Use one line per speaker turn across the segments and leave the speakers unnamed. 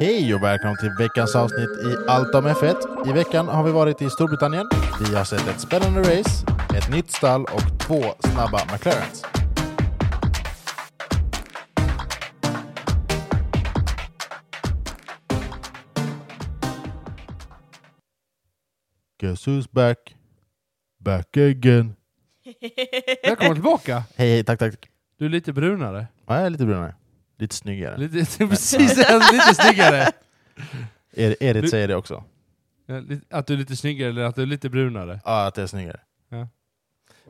Hej och välkomna till veckans avsnitt i Allt om F1. I veckan har vi varit i Storbritannien. Vi har sett ett spännande race, ett nytt stall och två snabba McLarens. Guess who's back? Back again.
Välkommen tillbaka!
Hej, hej, tack, tack.
Du är lite brunare.
Ja, jag är lite brunare. Lite snyggare.
Lite, precis, alltså, lite snyggare.
Er- Edith
Du-
säger det också.
Ja, lite- Att du är lite snyggare eller att du är lite brunare.
Ja, att jag är snyggare.
Ja.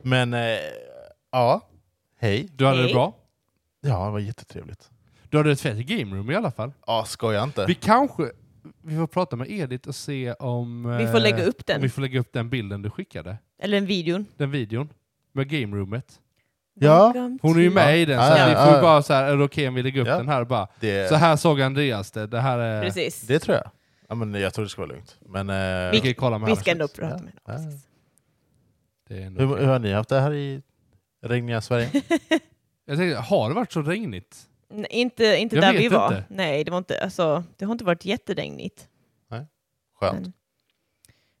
Men, eh, ja. Hej.
Du hade det
Hej.
bra.
Ja, det var jättetrevligt.
Du hade ett fett game room i alla fall.
Ja, skoja inte.
Vi kanske vi får prata med Edith och se om...
Vi får
eh,
lägga upp
Om
den.
vi får lägga upp den bilden du skickade.
Eller en videon.
Den videon. Med game roomet.
Ja.
Welcome
Hon är ju
to-
med i den, så
Ja, ja,
vi får
ja.
ju bara så här, är det okej om vi lägger upp
Ja.
den här och bara,
Det,
så här såg Andreas det, det här är...
Precis.
det tror jag. Ja, men jag tror det ska vara lugnt. Men, eh,
Vi kan ju kolla med
Vi
henne
ska ändå
sen.
prata med
Ja.
henne. Precis.
Det är ändå
hur,
okej.
hur har ni haft det här i regniga Sverige?
Jag tänkte, har det varit så regnigt?
Nej, inte inte
Jag
där
vet
vi var.
inte.
Nej, det, var inte, alltså, det har inte varit jätteregnigt.
Skönt.
Men,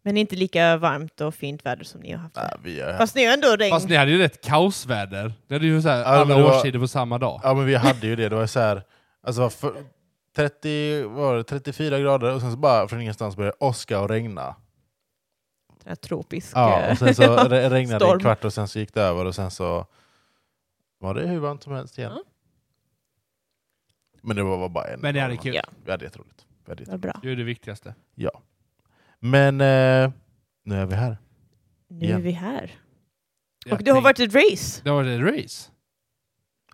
men inte lika varmt och fint väder som ni har haft.
Ja,
här.
vi, har-
Fast ni har ändå regn.
Fast ni hade ju rätt kaosväder. Ni hade ju så här,
Ja, men
alla
det var-
årstider på samma dag.
ja, men vi hade ju det. Det var så här, alltså, vad för, 30, vad var det, 34 grader och sen så bara från ingenstans började det åska och regna.
Den här tropisk... eh,
Ja, och sen så
Ja.
re- regnade det en
Storm.
kvart och sen så gick det över och sen så var det hur varmt som helst igen.
Ja.
Men det var bara en.
Men det hade kul.
Ja.
Vi hade jätteroligt. Vi hade
det var
jätteroligt.
bra.
Det är det viktigaste.
Ja. Men eh, nu är vi här.
Nu
Ja.
är vi här.
Jag
och det har
tänk-
varit ett race.
det har varit ett race.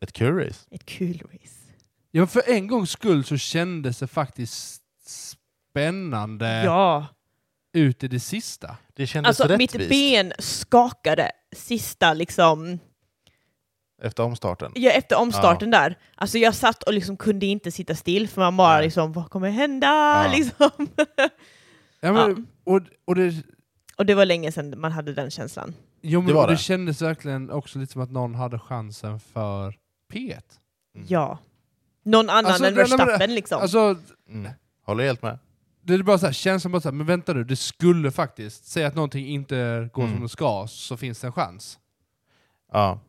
Ett kul race.
Ett kul race.
Ja, men för en gångs skull så kändes det faktiskt spännande
Ja.
ut i det sista.
Det kändes
Alltså, mitt
rättvist
ben skakade sista liksom...
efter omstarten.
Ja, efter omstarten där. Alltså jag satt och liksom kunde inte sitta still för man bara
Nej.
liksom, vad kommer hända?
Ja.
Liksom.
Ja, men, Och, och det,
och det var länge sedan man hade den känslan.
jo, men,
Det
det,
var
och det.
det.
kändes verkligen också lite som att någon hade chansen för P1.
Mm.
Ja. Någon annan
Alltså,
än
det- nej, men-
Verstappen liksom.
Alltså,
Mm. Håller helt med.
det är bara så här, känns som bara så här, men vänta nu, det skulle faktiskt, säga att någonting inte går
Mm.
som det ska, så finns det en chans.
Ja.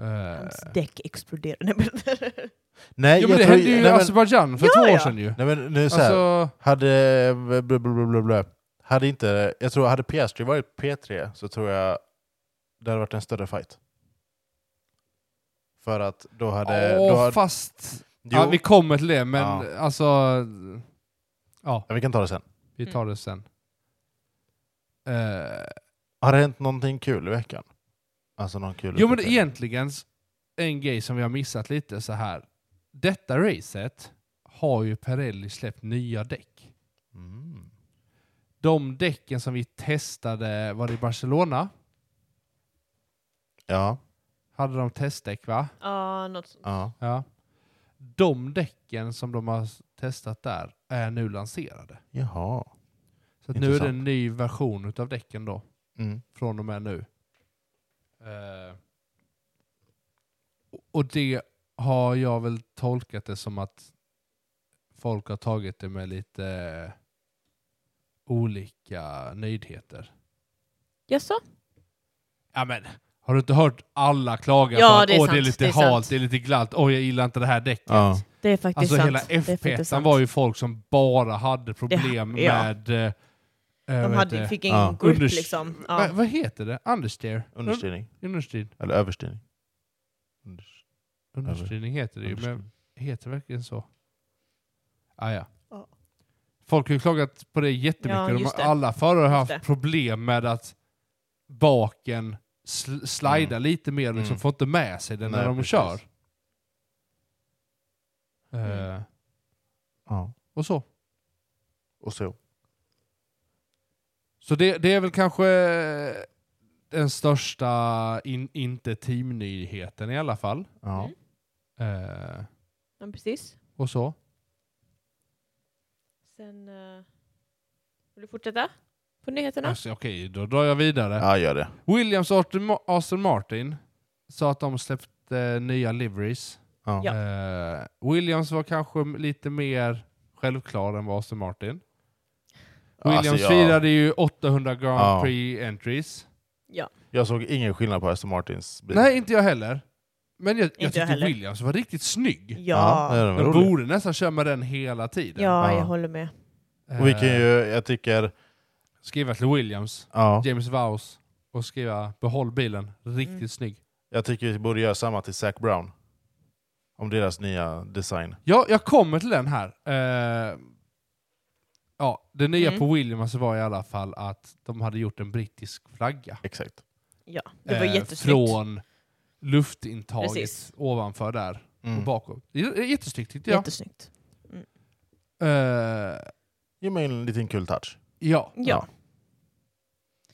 Eh,
Hans däck exploderade. Nej, men-
Nej,
Jo, men det
Eh, jag tror,
hände ju i
nej, men,
Azerbajdzjan för
Ja,
två år
ja.
sedan ju.
nej, men nu så här.
Alltså,
Hade... eh, Bla, bla, bla, bla, bla. Hade inte... Jag tror, hade Piastri varit P3 så tror jag det hade varit en större fight. För att då hade...
åh,
då hade
fast...
jo,
Ja, vi kommer till det, men
Ja.
alltså... Ja,
ja, vi kan ta det sen.
vi tar det sen. Eh,
Har det hänt någonting kul i veckan? Alltså någon kul
jo, men
utveckling?
egentligen s- en grej som vi har missat lite så här. Detta racet har ju Pirelli släppt nya däck.
Mm.
De däcken som vi testade, var det i Barcelona?
Ja,
Hade de testdäck, va?
Ja, något sånt.
ja.
Ja. De däcken som de har s- testat där är nu lanserade.
Jaha.
Så att nu är det
Intressant.
en ny version utav däcken då,
Mm.
från och med nu. Eh, och- och det har jag väl tolkat det som att folk har tagit det med lite eh, olika nöjdheter.
Jaså?
Ja men, har du inte hört alla klaga
Ja,
på att
det är
Åh, det är
sant,
lite
det är sant."
halt, det är lite glatt, åh jag gillar inte det här däcket.
Ja.
Det är faktiskt
Alltså
sant.
hela
Det är faktiskt
F1
sant.
var ju folk som bara hade problem
Det- ja.
med... eh, eh,
De
vad
hade,
heter det?
fick ingen
Ja.
grip
Unders-
liksom.
Va,
Ja.
vad heter det? Understeer?
Understyrning.
Un- Understyrning.
Eller överstyrning. Unders-
Understyrning heter det ju, men
understyrning.
heter det verkligen så? Ah, ja.
Ja.
Folk har ju klagat på det jättemycket.
Ja,
De
just
har-
det.
Alla förare har
Just
haft problem med att baken sl- slidar lite mer och liksom
Mm.
får inte med sig den när
Nej,
de
precis.
kör.
Mm.
Eh,
Ja.
och så.
Och så.
Så det, det är väl kanske den största, in, inte teamnyheten i alla fall.
Ja.
Mm.
Eh,
ja, precis.
och så.
Sen... eh, Vill du fortsätta? På nyheterna?
Alltså, Okej, då drar jag vidare.
ja, gör det.
Williams och Aston Ma- Aston Martin sa att de släppte eh, nya liveries
Ja.
Ja.
Eh, Williams var kanske lite mer självklar än vad Aston Martin. Williams
Alltså, jag,
firade ju 800 Grand
Ja.
Prix entries.
Ja.
jag såg ingen skillnad på Aston Martins bil.
Nej, inte jag heller. Men jag,
jag
jag tyckte
heller.
Williams var riktigt snygg.
Ja,
Ja.
den
Ja,
är väl
De
rolig.
borde nästan köra med den hela tiden.
Ja.
jag håller med.
Eh,
Och vi kan ju, jag tycker,
Skriva till Williams,
ja,
James Vowles och skriva behåll bilen. Riktigt
Mm.
snygg.
jag tycker vi borde göra samma till Zac Brown. Om deras nya design.
Ja, jag kommer till den här. Eh, ja, det nya
Mm.
på Williams var i alla fall att de hade gjort en brittisk flagga.
Exakt.
Ja, det var
eh,
jättesnyggt.
Från luftintaget
Precis.
ovanför där och
Mm.
bakåt. Det är Jättesnyggt tyckte jag.
Jättesnyggt.
Eh,
Ge mig en liten kul touch.
ja.
Ja.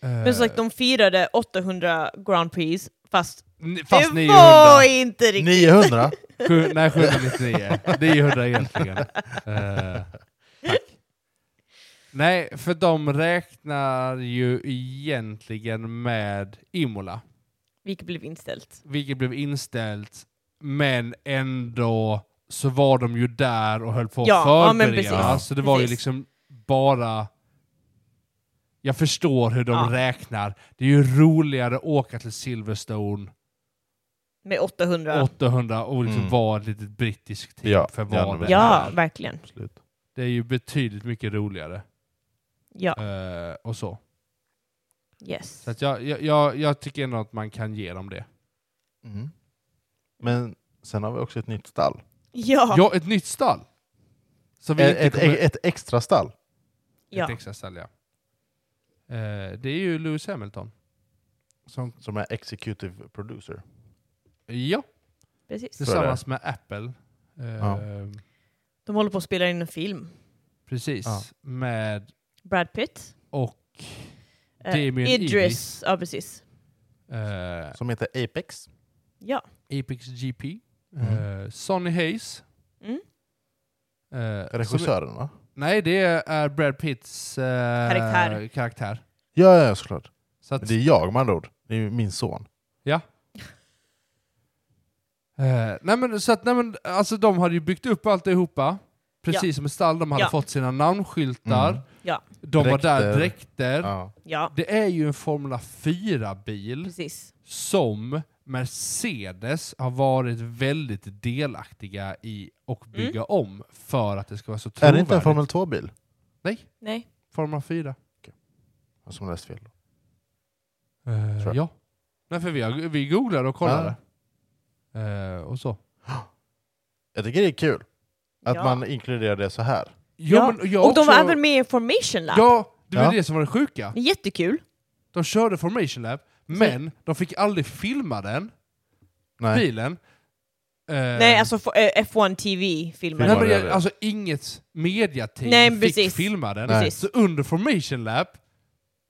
Eh,
Men som sagt, de firade 800 Grand Prix, fast
n- Fast
det var
900.
inte riktigt...
900?
Sju, nej, 799. 900 egentligen. Eh, tack. Nej, för de räknar ju egentligen med Imola.
Vilket blev inställt.
vilket blev inställt, men ändå så var de ju där och höll på att
Ja, ja, men
förbereda.
precis.
så det var ju
Precis.
liksom bara... Jag förstår hur de
Ja.
räknar. Det är ju roligare att åka till Silverstone
Med 800.
800 och liksom
Mm.
vara ett litet brittiskt team
Ja,
för
ja,
vad
men-
det
ja,
är.
verkligen.
Absolut.
Det är ju betydligt mycket roligare.
Ja,
eh, och så.
yes.
Så att jag, jag, jag, jag tycker ändå att man kan ge dem det.
Mm. Men sen har vi också ett nytt stall.
Ja,
Ja, ett nytt stall! Som vi
Ett,
inte
ett,
kommer-
ett extra stall.
ja. ett
ja.
extra stall, ja. Eh, det är ju Lewis Hamilton. Som,
Som är executive producer.
ja,
precis.
tillsammans med Apple. Eh,
Ja.
De håller på att spela in en film.
Precis.
Ja.
Med
Brad Pitt.
och...
eh,
Damien
Idris.
Idris.
Ja, precis.
Eh,
Som heter Apex.
Ja.
Apex GP.
Mm.
Eh, Sonny Hayes.
Mm.
Eh, som-
Regissören va?
nej, det är Brad Pitts eh,
Karaktär.
karaktär.
Ja, ja, såklart.
Så att,
Det är jag med andra ord. Det är ju min son.
eh, nej men, så att, nej men, alltså, de hade ju byggt upp alltihopa. Precis som ett stall. De hade
Ja.
fått sina namnskyltar.
Mm.
Ja.
De var där,
Dräkter.
dräkter.
Ja.
Ja,
Det är ju en Formula 4-bil
precis.
som Mercedes har varit väldigt delaktiga i och
Mm.
bygga om för att det ska vara så
Är
trovärdigt.
det inte en Formel 2-bil?
Nej,
Nej.
Formula 4.
Jag Som läst fel.
Eh,
jag.
ja. Nej, för vi, har, vi googlade och kollade. Eh, och så.
Jag tycker det är kul att
ja.
man inkluderar det så här.
Jo,
Ja,
men jag
och de
också-
var även med i Formation Lab.
Ja, Eh. det var
Ja.
det som var det sjuka.
Jättekul.
De körde Formation Lab, men de fick aldrig filma den,
Nej.
bilen. Eh,
Nej, alltså for- eh, F1 TV-filmen.
Nej,
Nej,
var
men
det
jag,
det?
alltså inget mediateam
Nej, men
fick
precis.
filma den.
Nej.
Så under Formation Lab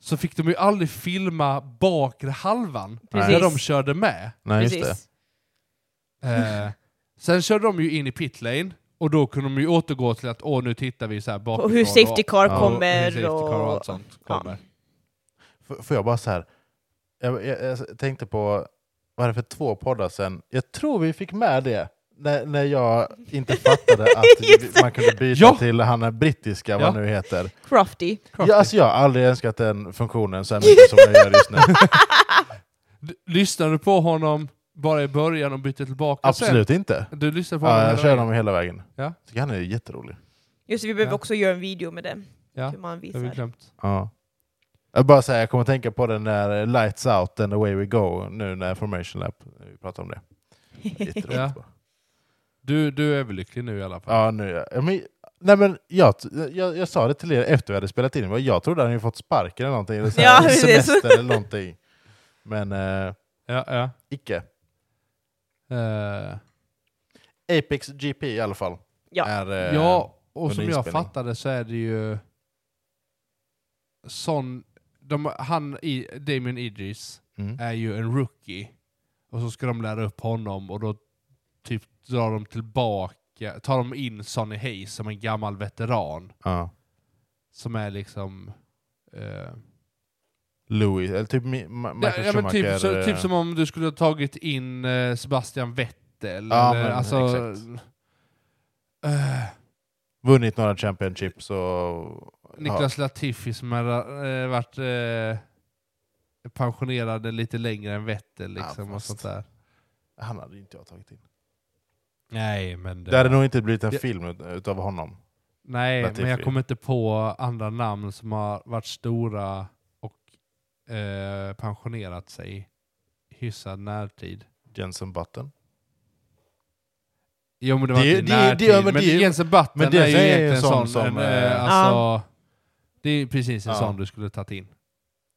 så fick de ju aldrig filma bakre halvan
Precis.
när de körde med.
Nej, just det.
Precis.
Eh, sen körde de ju in i pitlane och då kunde de ju återgå till att åh nu tittar vi så här bakifrån.
Och hur Safety Car
Ja, och
kommer.
hur safety car och allt
och...
sånt kommer.
F- Får jag bara så här. Jag, jag, jag tänkte på, vad är det för två poddar sen? Jag tror vi fick med det. När, när jag inte fattade att
Just
vi- man kunde byta
Ja.
till han är brittiska, vad
Ja.
han nu heter.
Crafty.
Ja, alltså jag har aldrig önskat den funktionen så här mycket som jag gör just nu.
Du- Lyssnade du på honom bara i början och bytte tillbaka
Absolut inte.
sen? Du lyssnade på honom?
Ja, jag
hela
kör
vägen?
dem hela vägen.
Ja.
Jag tycker han är jätterolig.
Just det, vi behöver
Ja.
också göra en video med det.
Ja,
Hur man
det har vi
visar.
glömt.
Ja. Jag bara säga, jag kommer att tänka på den där Lights Out and Away We Go nu när Formation Lab, vi pratar om det. Jätteroligt.
Ja.
bara.
Du, du är överlycklig nu i alla fall.
Ja, nu är jag. Ja, Men, nej, men jag, jag, jag sa det till er efter vi hade spelat in, Men jag trodde han hade fått sparken eller någonting, eller så
Ja,
här,
precis.
semester eller någonting. Men eh,
Ja, ja.
icke.
Eh,
Apex GP i alla fall.
Ja.
Är, eh,
Ja, och
under
som jag
inspelning.
fattade så är det ju sån... De, han, i, Damien Idris,
Mm.
är ju en rookie. Och så ska de lära upp honom och då typ drar de tillbaka, tar de in Sonny Hayes som en gammal veteran.
Ja.
Som är liksom... Eh,
Louis, eller typ Mi- Ma- Michael
ja, ja, men
Schumacher.
typ, så,
eh,
typ som om du skulle ha tagit in eh, Sebastian Vettel titel.
Ja,
eller,
men
alltså,
exakt.
eh,
Vunnit några championships och...
Niklas Latifi som har eh, varit eh, pensionerad lite längre än Vettel
Ja,
liksom, och
fast-
sånt där.
Ja, han hade inte jag tagit in.
Nej, men det,
Det hade nog inte blivit en
Det-
film ut- utav honom.
Nej,
Latifi.
men jag kommer inte på andra namn som har varit stora och eh, pensionerat sig i hyfsad närtid.
Jensen Button.
Jo men det
Det
var
är-
inte
det
i
är-
närtid.
det är- men
men
det är ju-
Jensen Button
men det
är ju
är ju en
egentligen en
sån
sån.
som,
en,
eh,
eh, alltså, det är precis en
Ja.
sån du skulle tagit in.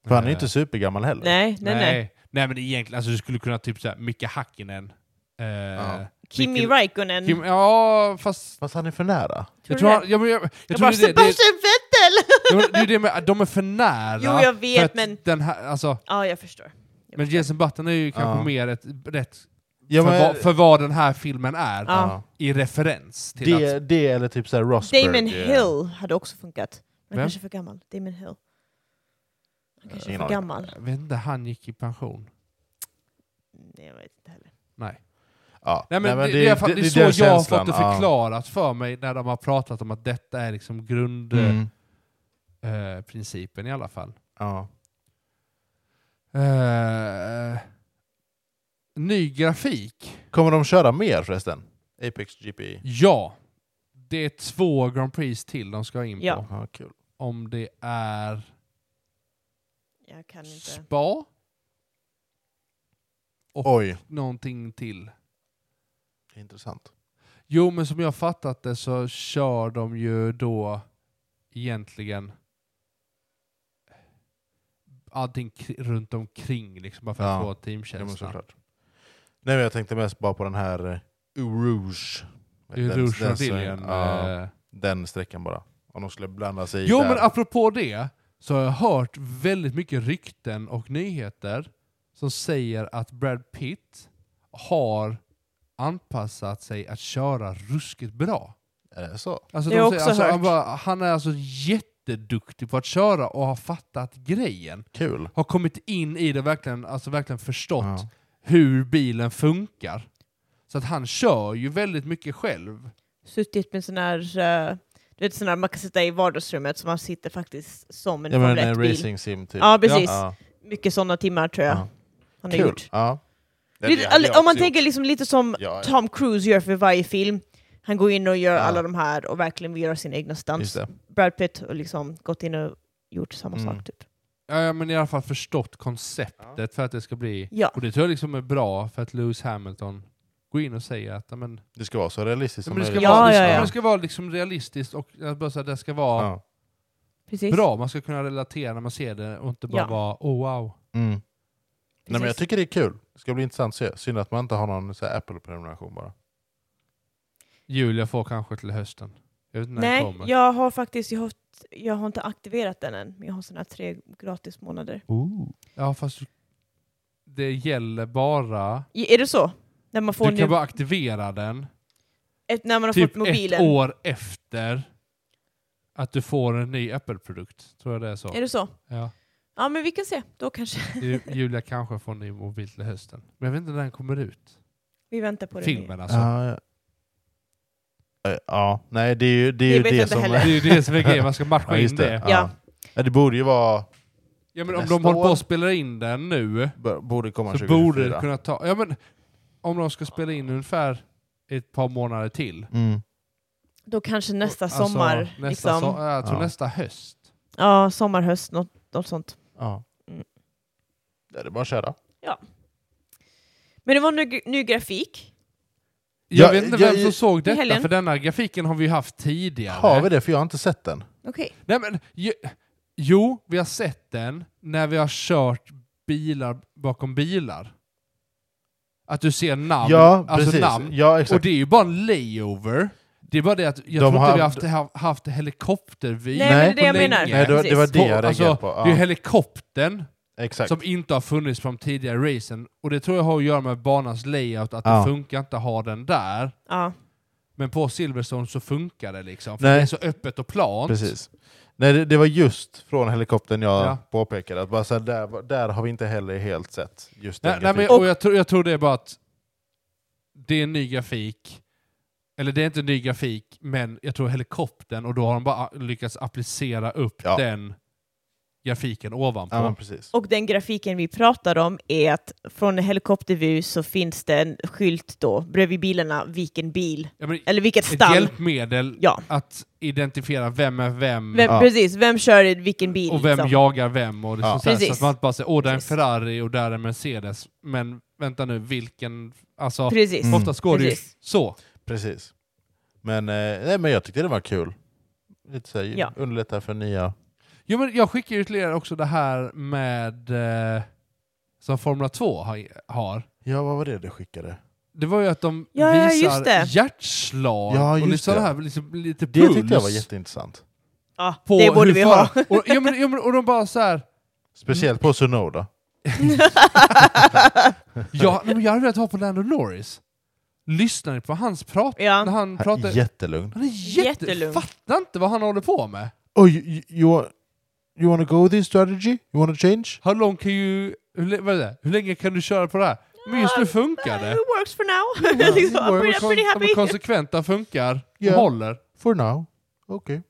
För han är ju
Eh,
inte supergammal heller.
Nej, nej,
nej,
nej.
nej. men egentligen, alltså, du skulle kunna typ såhär, Micke Hakkinen. Eh,
Ja.
Kimi
Vilken-
Räikkönen.
Kim, ja, fast...
Fast han är för nära.
Mm. Tror
Jag
du
tror,
det?
han- ja, men jag, jag,
Jag
tror
bara
det, är det, det,
Sebastian Vettel!
det, det är det med, de är för nära.
Jo, jag
för
vet,
att
men...
Den här, alltså,
Ja, jag förstår. Jag
men
förstår.
Jensen Button är ju kanske
Ja.
mer ett rätt
Ja,
för, vad,
men,
för vad den här filmen är
Ja.
i referens till
det,
att...
det eller typ såhär Rosberg.
Damon
eh,
Hill hade också funkat. Men
Vem?
han kanske är för gammal. Damon Hill. Han kanske är
Ingen
för
aning.
gammal.
Jag vet inte, han gick i pension.
Nej, jag vet inte heller.
Nej.
Ja.
Nej, men det, det, är i alla fall- det, är
den
så jag har
känslan,
fått det förklarat för mig när de har pratat om att detta är liksom
Ja.
grundprincipen
Mm.
eh, principen i alla fall.
Ja.
Eh, ny grafik?
Kommer de köra mer förresten? Apex E? GP?
Ja. Det är två Grand Prix till de ska in på.
Ja.
Ja, kul.
Om det är
Jag kan inte.
Spa Och-
Oj,
någonting till.
intressant.
Jo, men som jag fattat det så kör de ju då egentligen allting k- runt omkring liksom, bara för att
Ja.
få
Ja, men
teamkänslan.
såklart. Nej, men jag tänkte mest bara på den här eh, Rouge.
det är ju
Den-
Rouge
den-
Rodillion,
ja,
eh.
Den sträckan bara. Om de skulle blanda sig i
Jo,
där.
men apropå det så har jag hört väldigt mycket rykten och nyheter som säger att Brad Pitt har anpassat sig att köra ruskigt bra.
Är det så?
Alltså,
Det har jag också
alltså, han,
hört.
bara, han är alltså jätteduktig på att köra och har fattat grejen.
Kul.
Har kommit in i det och verkligen, alltså verkligen förstått
Ja.
hur bilen funkar. Så att han kör ju väldigt mycket själv.
Suttit med sån här... eh, du vet sån här man kan sitta i vardagsrummet så man sitter faktiskt som en
Ja,
eh,
men
Formel
en
1-bil.
racing sim typ.
Ja, precis.
Ja.
Mycket sådana timmar tror jag
Ja.
han har
Kul.
gjort.
Ja. Det
Lite-
hade jag
om man
också
tänker
gjort.
liksom lite som
Ja, ja.
Tom Cruise gör för varje film. Han går in och gör
Ja.
alla de här och verkligen gör sina egna
Just
stunts.
det.
Brad Pitt har liksom gått in och gjort samma
Mm.
sak typ.
Ja, ja, men i alla fall förstått konceptet för att det ska bli...
Ja.
Och det tror jag liksom är bra för att Lewis Hamilton går in och säger att ja, men,
Det ska vara så realistiskt
ja,
som
men det, ska
möjligt.
Ja,
vara, det,
ja,
ska,
ja.
det ska vara liksom realistiskt och jag bara, så här, det ska vara
Ja.
Precis.
bra. Man ska kunna relatera när man ser det och inte bara
Ja.
vara oh wow.
Mm. Nej, men jag
Precis.
tycker det är kul. Det ska bli intressant att se. Synd att man inte har någon så här Apple-prenumeration bara.
Julia får kanske till hösten. Jag vet inte när den
Nej,
kommer.
jag har faktiskt, jag har, jag har inte aktiverat den än, men jag har såna här tre gratis månader.
Ja, fast det gäller bara...
I- Är det så? När man får,
Du
nu,
kan bara aktivera den
ett, när man har
typ
fått mobilen?
ett år efter att du får en ny Apple-produkt. Tror jag det är så.
Är det så?
Ja.
Ja, men vi kan se. Då kanske.
Ju- Julia kanske får en ny mobil till hösten. Men jag vet inte när den kommer ut.
Vi väntar på det.
Filmen alltså.
Ja, ja. Eh, ja, nej det är ju det, är
Det
ju
vet
det
jag inte
som...
Det
heller.
är ju det som är grejen, man ska
Ja,
matcha in
just
det.
det.
Ja.
Ja.
Ja, det borde ju vara...
men om
Nästa
de håller på
år.
att spela in den nu,
b- Borde komma
så
2024.
borde det kunna ta... Ja, men om de ska spela in ungefär ett par månader till.
Mm.
Då kanske nästa
Alltså,
sommar.
Nästa
liksom.
so- jag tror
Ja.
nästa höst.
Ja, sommar, höst, något, något sånt.
Ja.
Mm.
Det är bara att köra.
Men det var ny, ny grafik.
Jag
Ja,
vet inte
jag-
vem som såg detta,
helgen.
för denna grafiken har vi ju haft tidigare.
Har vi det? För jag har inte sett den.
Okej.
Nej, men, ju, jo, vi har sett den när vi har kört bilar bakom bilar. Att du ser namn,
ja,
alltså
precis.
namn.
Ja,
Och
exakt.
det är ju bara en layover. Det är bara det att jag
De
tror inte
har-
vi har haft, ha- haft helikoptervy.
Nej,
Nej,
men det är
på
det jag menar.
länge.
Nej, det, var- det var
Precis.
det jag
Alltså,
reagerade på. Ja,
Det är ju helikoptern
exakt.
som inte har funnits från tidigare racen. Och det tror jag har att göra med banans layout, att
Ja.
det funkar inte att ha den där.
Ja.
Men på Silverstone så funkar det liksom. För
Nej.
det är så öppet och plant.
Precis. Nej, det, det var just från helikoptern jag
Ja.
påpekade att bara så här, där, där har vi inte heller helt sett just den
Nej, nej, men,
grafiken.
och jag, tror, jag tror det är bara att det är en ny grafik, eller det är inte en ny grafik, men jag tror helikoptern, och då har de bara lyckats applicera upp
Ja.
den grafiken ovanpå.
Ja, men precis.
Och den grafiken vi pratar om är att från en helikoptervy så finns det en skylt då bredvid bilarna, vilken bil,
Ja, men
eller vilket
ett
stall.
hjälpmedel
Ja,
att identifiera vem är vem,
vem,
Ja.
precis. Vem kör i vilken bil?
och vem
liksom?
jagar vem. Och liksom
Ja.
så, här, så att
Precis.
man inte bara säger åh, där är en
Precis.
Ferrari och där är en Mercedes. Men vänta nu, vilken... Alltså,
Precis.
Mm.
oftast går det ju
Precis.
så.
precis. Men, eh, nej, men jag tyckte det var kul. Lite så här,
Ja.
Underlätta för nya.
Jo, men jag skickar ju till er också det här med eh, som Formula 2 har- har.
Ja, vad var det du skickade?
Det var ju att de
Ja, ja,
visar
just det.
hjärtslag
Ja,
och
just
liksom
det.
det här, liksom, lite
Det
puls.
tyckte jag var jätteintressant.
Ja,
på
det borde
hur
vi
för-
ha.
Och, ja, men, ja, men, och de bara så här,
Speciellt
Mm.
på Sunoda.
ja, nej, men jag hade velat ha på Lando Norris. Lyssnar ni på hans prat?
Ja.
När han
Han är
pratar...
jättelugn.
Han är jätte...
Jättelugn.
Fattar inte vad han håller på med.
Oh, you, you- you, you wanna go with this strategy? You wanna change?
Hur lång kan ju... Hur, lä- vad är det? hur länge kan du köra på det här? Men just nu funkar det.
It works for now. liksom, I'm pretty, I'm pretty
De är
happy.
konsekventa, funkar,
Ja.
och håller.
For now. Okej.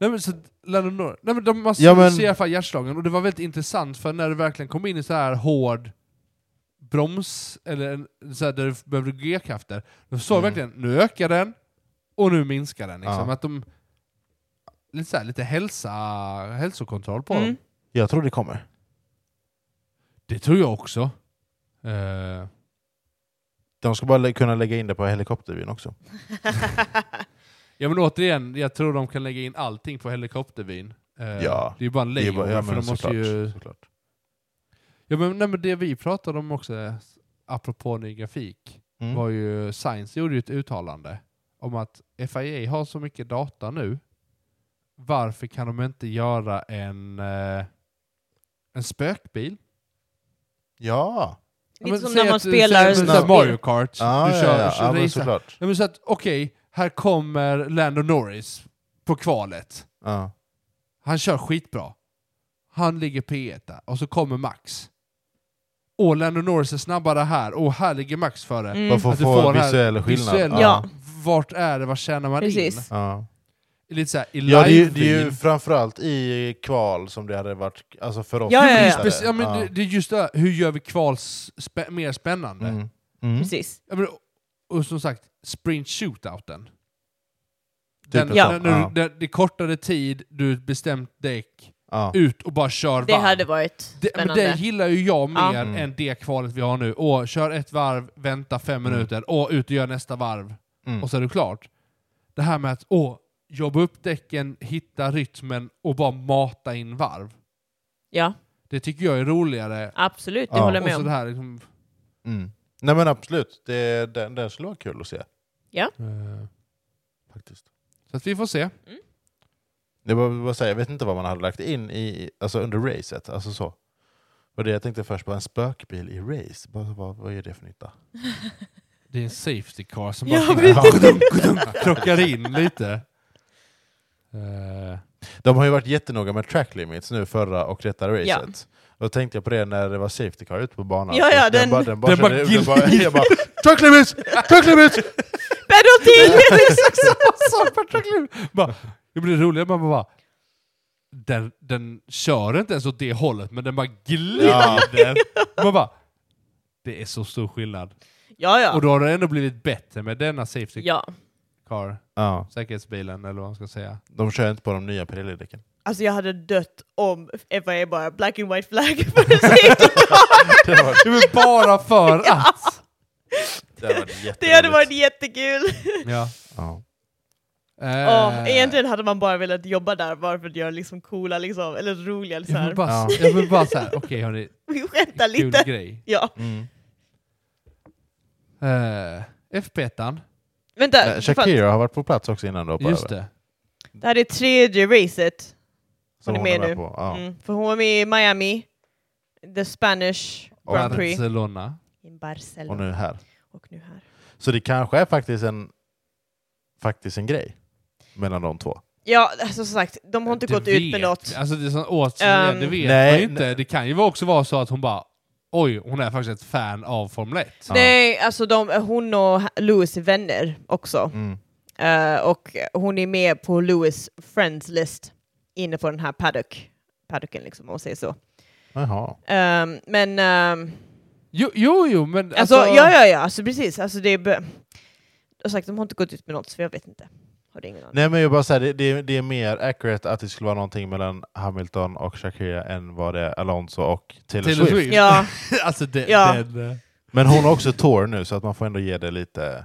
Nej men, så, Lando Norris. Nej, men de man
Ja, men-
ser i alla fall hjärtslagen, och det var väldigt intressant för när du verkligen kom in i så här hård broms, eller en- så här, där du behövde g-krafter, då såg
Mm.
du verkligen, nu ökar den, och nu minskar den. Liksom.
Ja.
Att de, lite, så här, lite hälsa, hälsokontroll på dem.
Mm.
Jag tror det kommer.
Det tror jag också. Eh,
De ska bara lä- kunna lägga in det på helikoptervyn också.
Ja men återigen, jag tror de kan lägga in allting på helikoptervyn. Eh,
Ja,
Det är ju bara en
Det är
layover,
bara- ja,
för
men
de måste
såklart,
ju...
såklart.
Ja men, nej, men det vi pratade om också, apropå ny grafik,
Mm.
var ju, Science gjorde ju ett uttalande om att FIA har så mycket data nu, varför kan de inte göra en, eh, en spökbil?
Ja.
Ja,
Lite
men
som
säg
när man
att-
spelar
säg att-
sådana-
Mario Kart,
Ah,
du
ja,
kör,
ja,
kör
ja, men
racear.
såklart.
Ja, men så att okej, här kommer Lando Norris på kvalet.
Ja.
Han kör skitbra. Han ligger P1 där. och så kommer Max. Åh, Lando Norris är snabbare här. Åh, här ligger Max före.
Mm.
Bara för
Att
att
du
få
får
en
den här
visuell skillnad.
Visuell-
Ja.
Vart är det? Vad tjänar man in?
Precis.
Ja.
Lite såhär i
Ja, det, är ju, det är ju
livevyn.
framförallt i kval som det hade varit alltså för oss.
Ja, ja, ja.
tittare.
Speci- ja, men det, det är just det, här. hur gör vi kval spä- mer spännande?
Mm. Mm.
Precis.
Ja, men, och som sagt, sprint shootouten.
Typ
Den,
en
ja.
sån,
när
ja.
du, det, det är kortare tid, du är ett bestämt däck,
Ja.
ut och bara kör
Det
varv.
hade varit
Det, men
spännande.
det gillar ju jag mer
Ja.
Mm.
än det kvalet vi har nu. Åh, kör ett varv, vänta fem
Mm.
minuter, åh, ut och gör nästa varv,
Mm.
och så är du klart. Det här med att åh, jobba upp däcken, hitta rytmen och bara mata in varv.
Ja,
Det tycker jag är roligare.
absolut. Det
Ja.
håller jag
Och
med
så det
om.
här liksom,
Mm. Nej men absolut, det, den, den skulle vara kul att se.
eh,
faktiskt.
så att vi får se.
Det var, vad säger, jag vet inte vad man hade lagt in i, alltså under racet. Alltså så. Och det jag tänkte först på en spökbil i race. Bara, vad, vad är det för nytta?
Det är en safety car som bara
Ja,
krockar in lite. Eh,
De har ju varit jättenoga med track limits nu förra och detta racet.
Ja.
Och då tänkte jag på det när det var safety car ute på banan.
Ja, ja, den-
bara, den bara,
Den bara
körde-
gill-
den bara, jag bara track limits! Track limits!
Penalty!
det är exakt samma sak på Tracklin. Bara, Det blir roligare, man bara... Den, den kör inte ens åt det hållet, men den bara glider. Man bara, det är så stor skillnad.
Ja,
Och
ja.
då har det ändå blivit bättre med denna safety
ja.
car,
Ja,
säkerhetsbilen eller vad man ska säga.
de kör inte på de nya Pirelli-däcken.
Alltså jag hade dött om FIA bara black and white flag för en safety car.
Det hade varit,
Det var bara för att!
det hade varit
Det hade
jätteroligt.
varit jättekul.
Ja.
Ja.
Åh,
Eh,
egentligen hade man bara velat jobba där bara för att göra liksom coola, liksom, eller roliga. Så
jag
här.
vill bara,
Ja.
jag vill bara såhär, okej hörni,
Vi skämtar
kul
lite.
grej.
Ja.
Mm.
Eh, FP1,
Vänta,
Eh,
fan,
Shakira har varit på plats också innan du hoppade
just
över.
det.
det här är tredje racet.
Som
Hon är
hon är med
med nu.
på. Ja.
Mm. För hon var med i Miami, The Spanish
Och
Grand Prix,
Barcelona.
in
Och
Barcelona
nu här.
och nu här.
Så det kanske är faktiskt en, faktiskt en grej mellan de två.
Ja, alltså som sagt, de har inte
Det
gått ut
vet
med
vi.
något.
Alltså det, är sån, återigen,
Ehm,
det vet
Nej,
man ju inte.
nej.
Det kan ju också vara så att hon bara oj, hon är faktiskt ett fan av Formel 1.
Ja.
Nej, alltså de, hon och Lewis är vänner också.
Mm.
Eh, och hon är med på Lewis friends list inne på den här paddock, paddocken, liksom, om man säger så.
Jaha.
Ehm, men, ehm,
Jo, jo, jo men
alltså, ja, ja, ja, alltså, precis. Alltså, det är be- jag har sagt, de har inte gått ut med något, så jag vet inte. Har det ingen aning.
Nej men jag bara säger, det, det, det är mer accurate att det skulle vara någonting mellan Hamilton och Shakira än vad det är Alonso och Taylor,
Taylor
Swift.
Swift.
Ja,
alltså det,
Ja.
den... eh,
Men hon har också tour nu så att man får ändå ge det lite...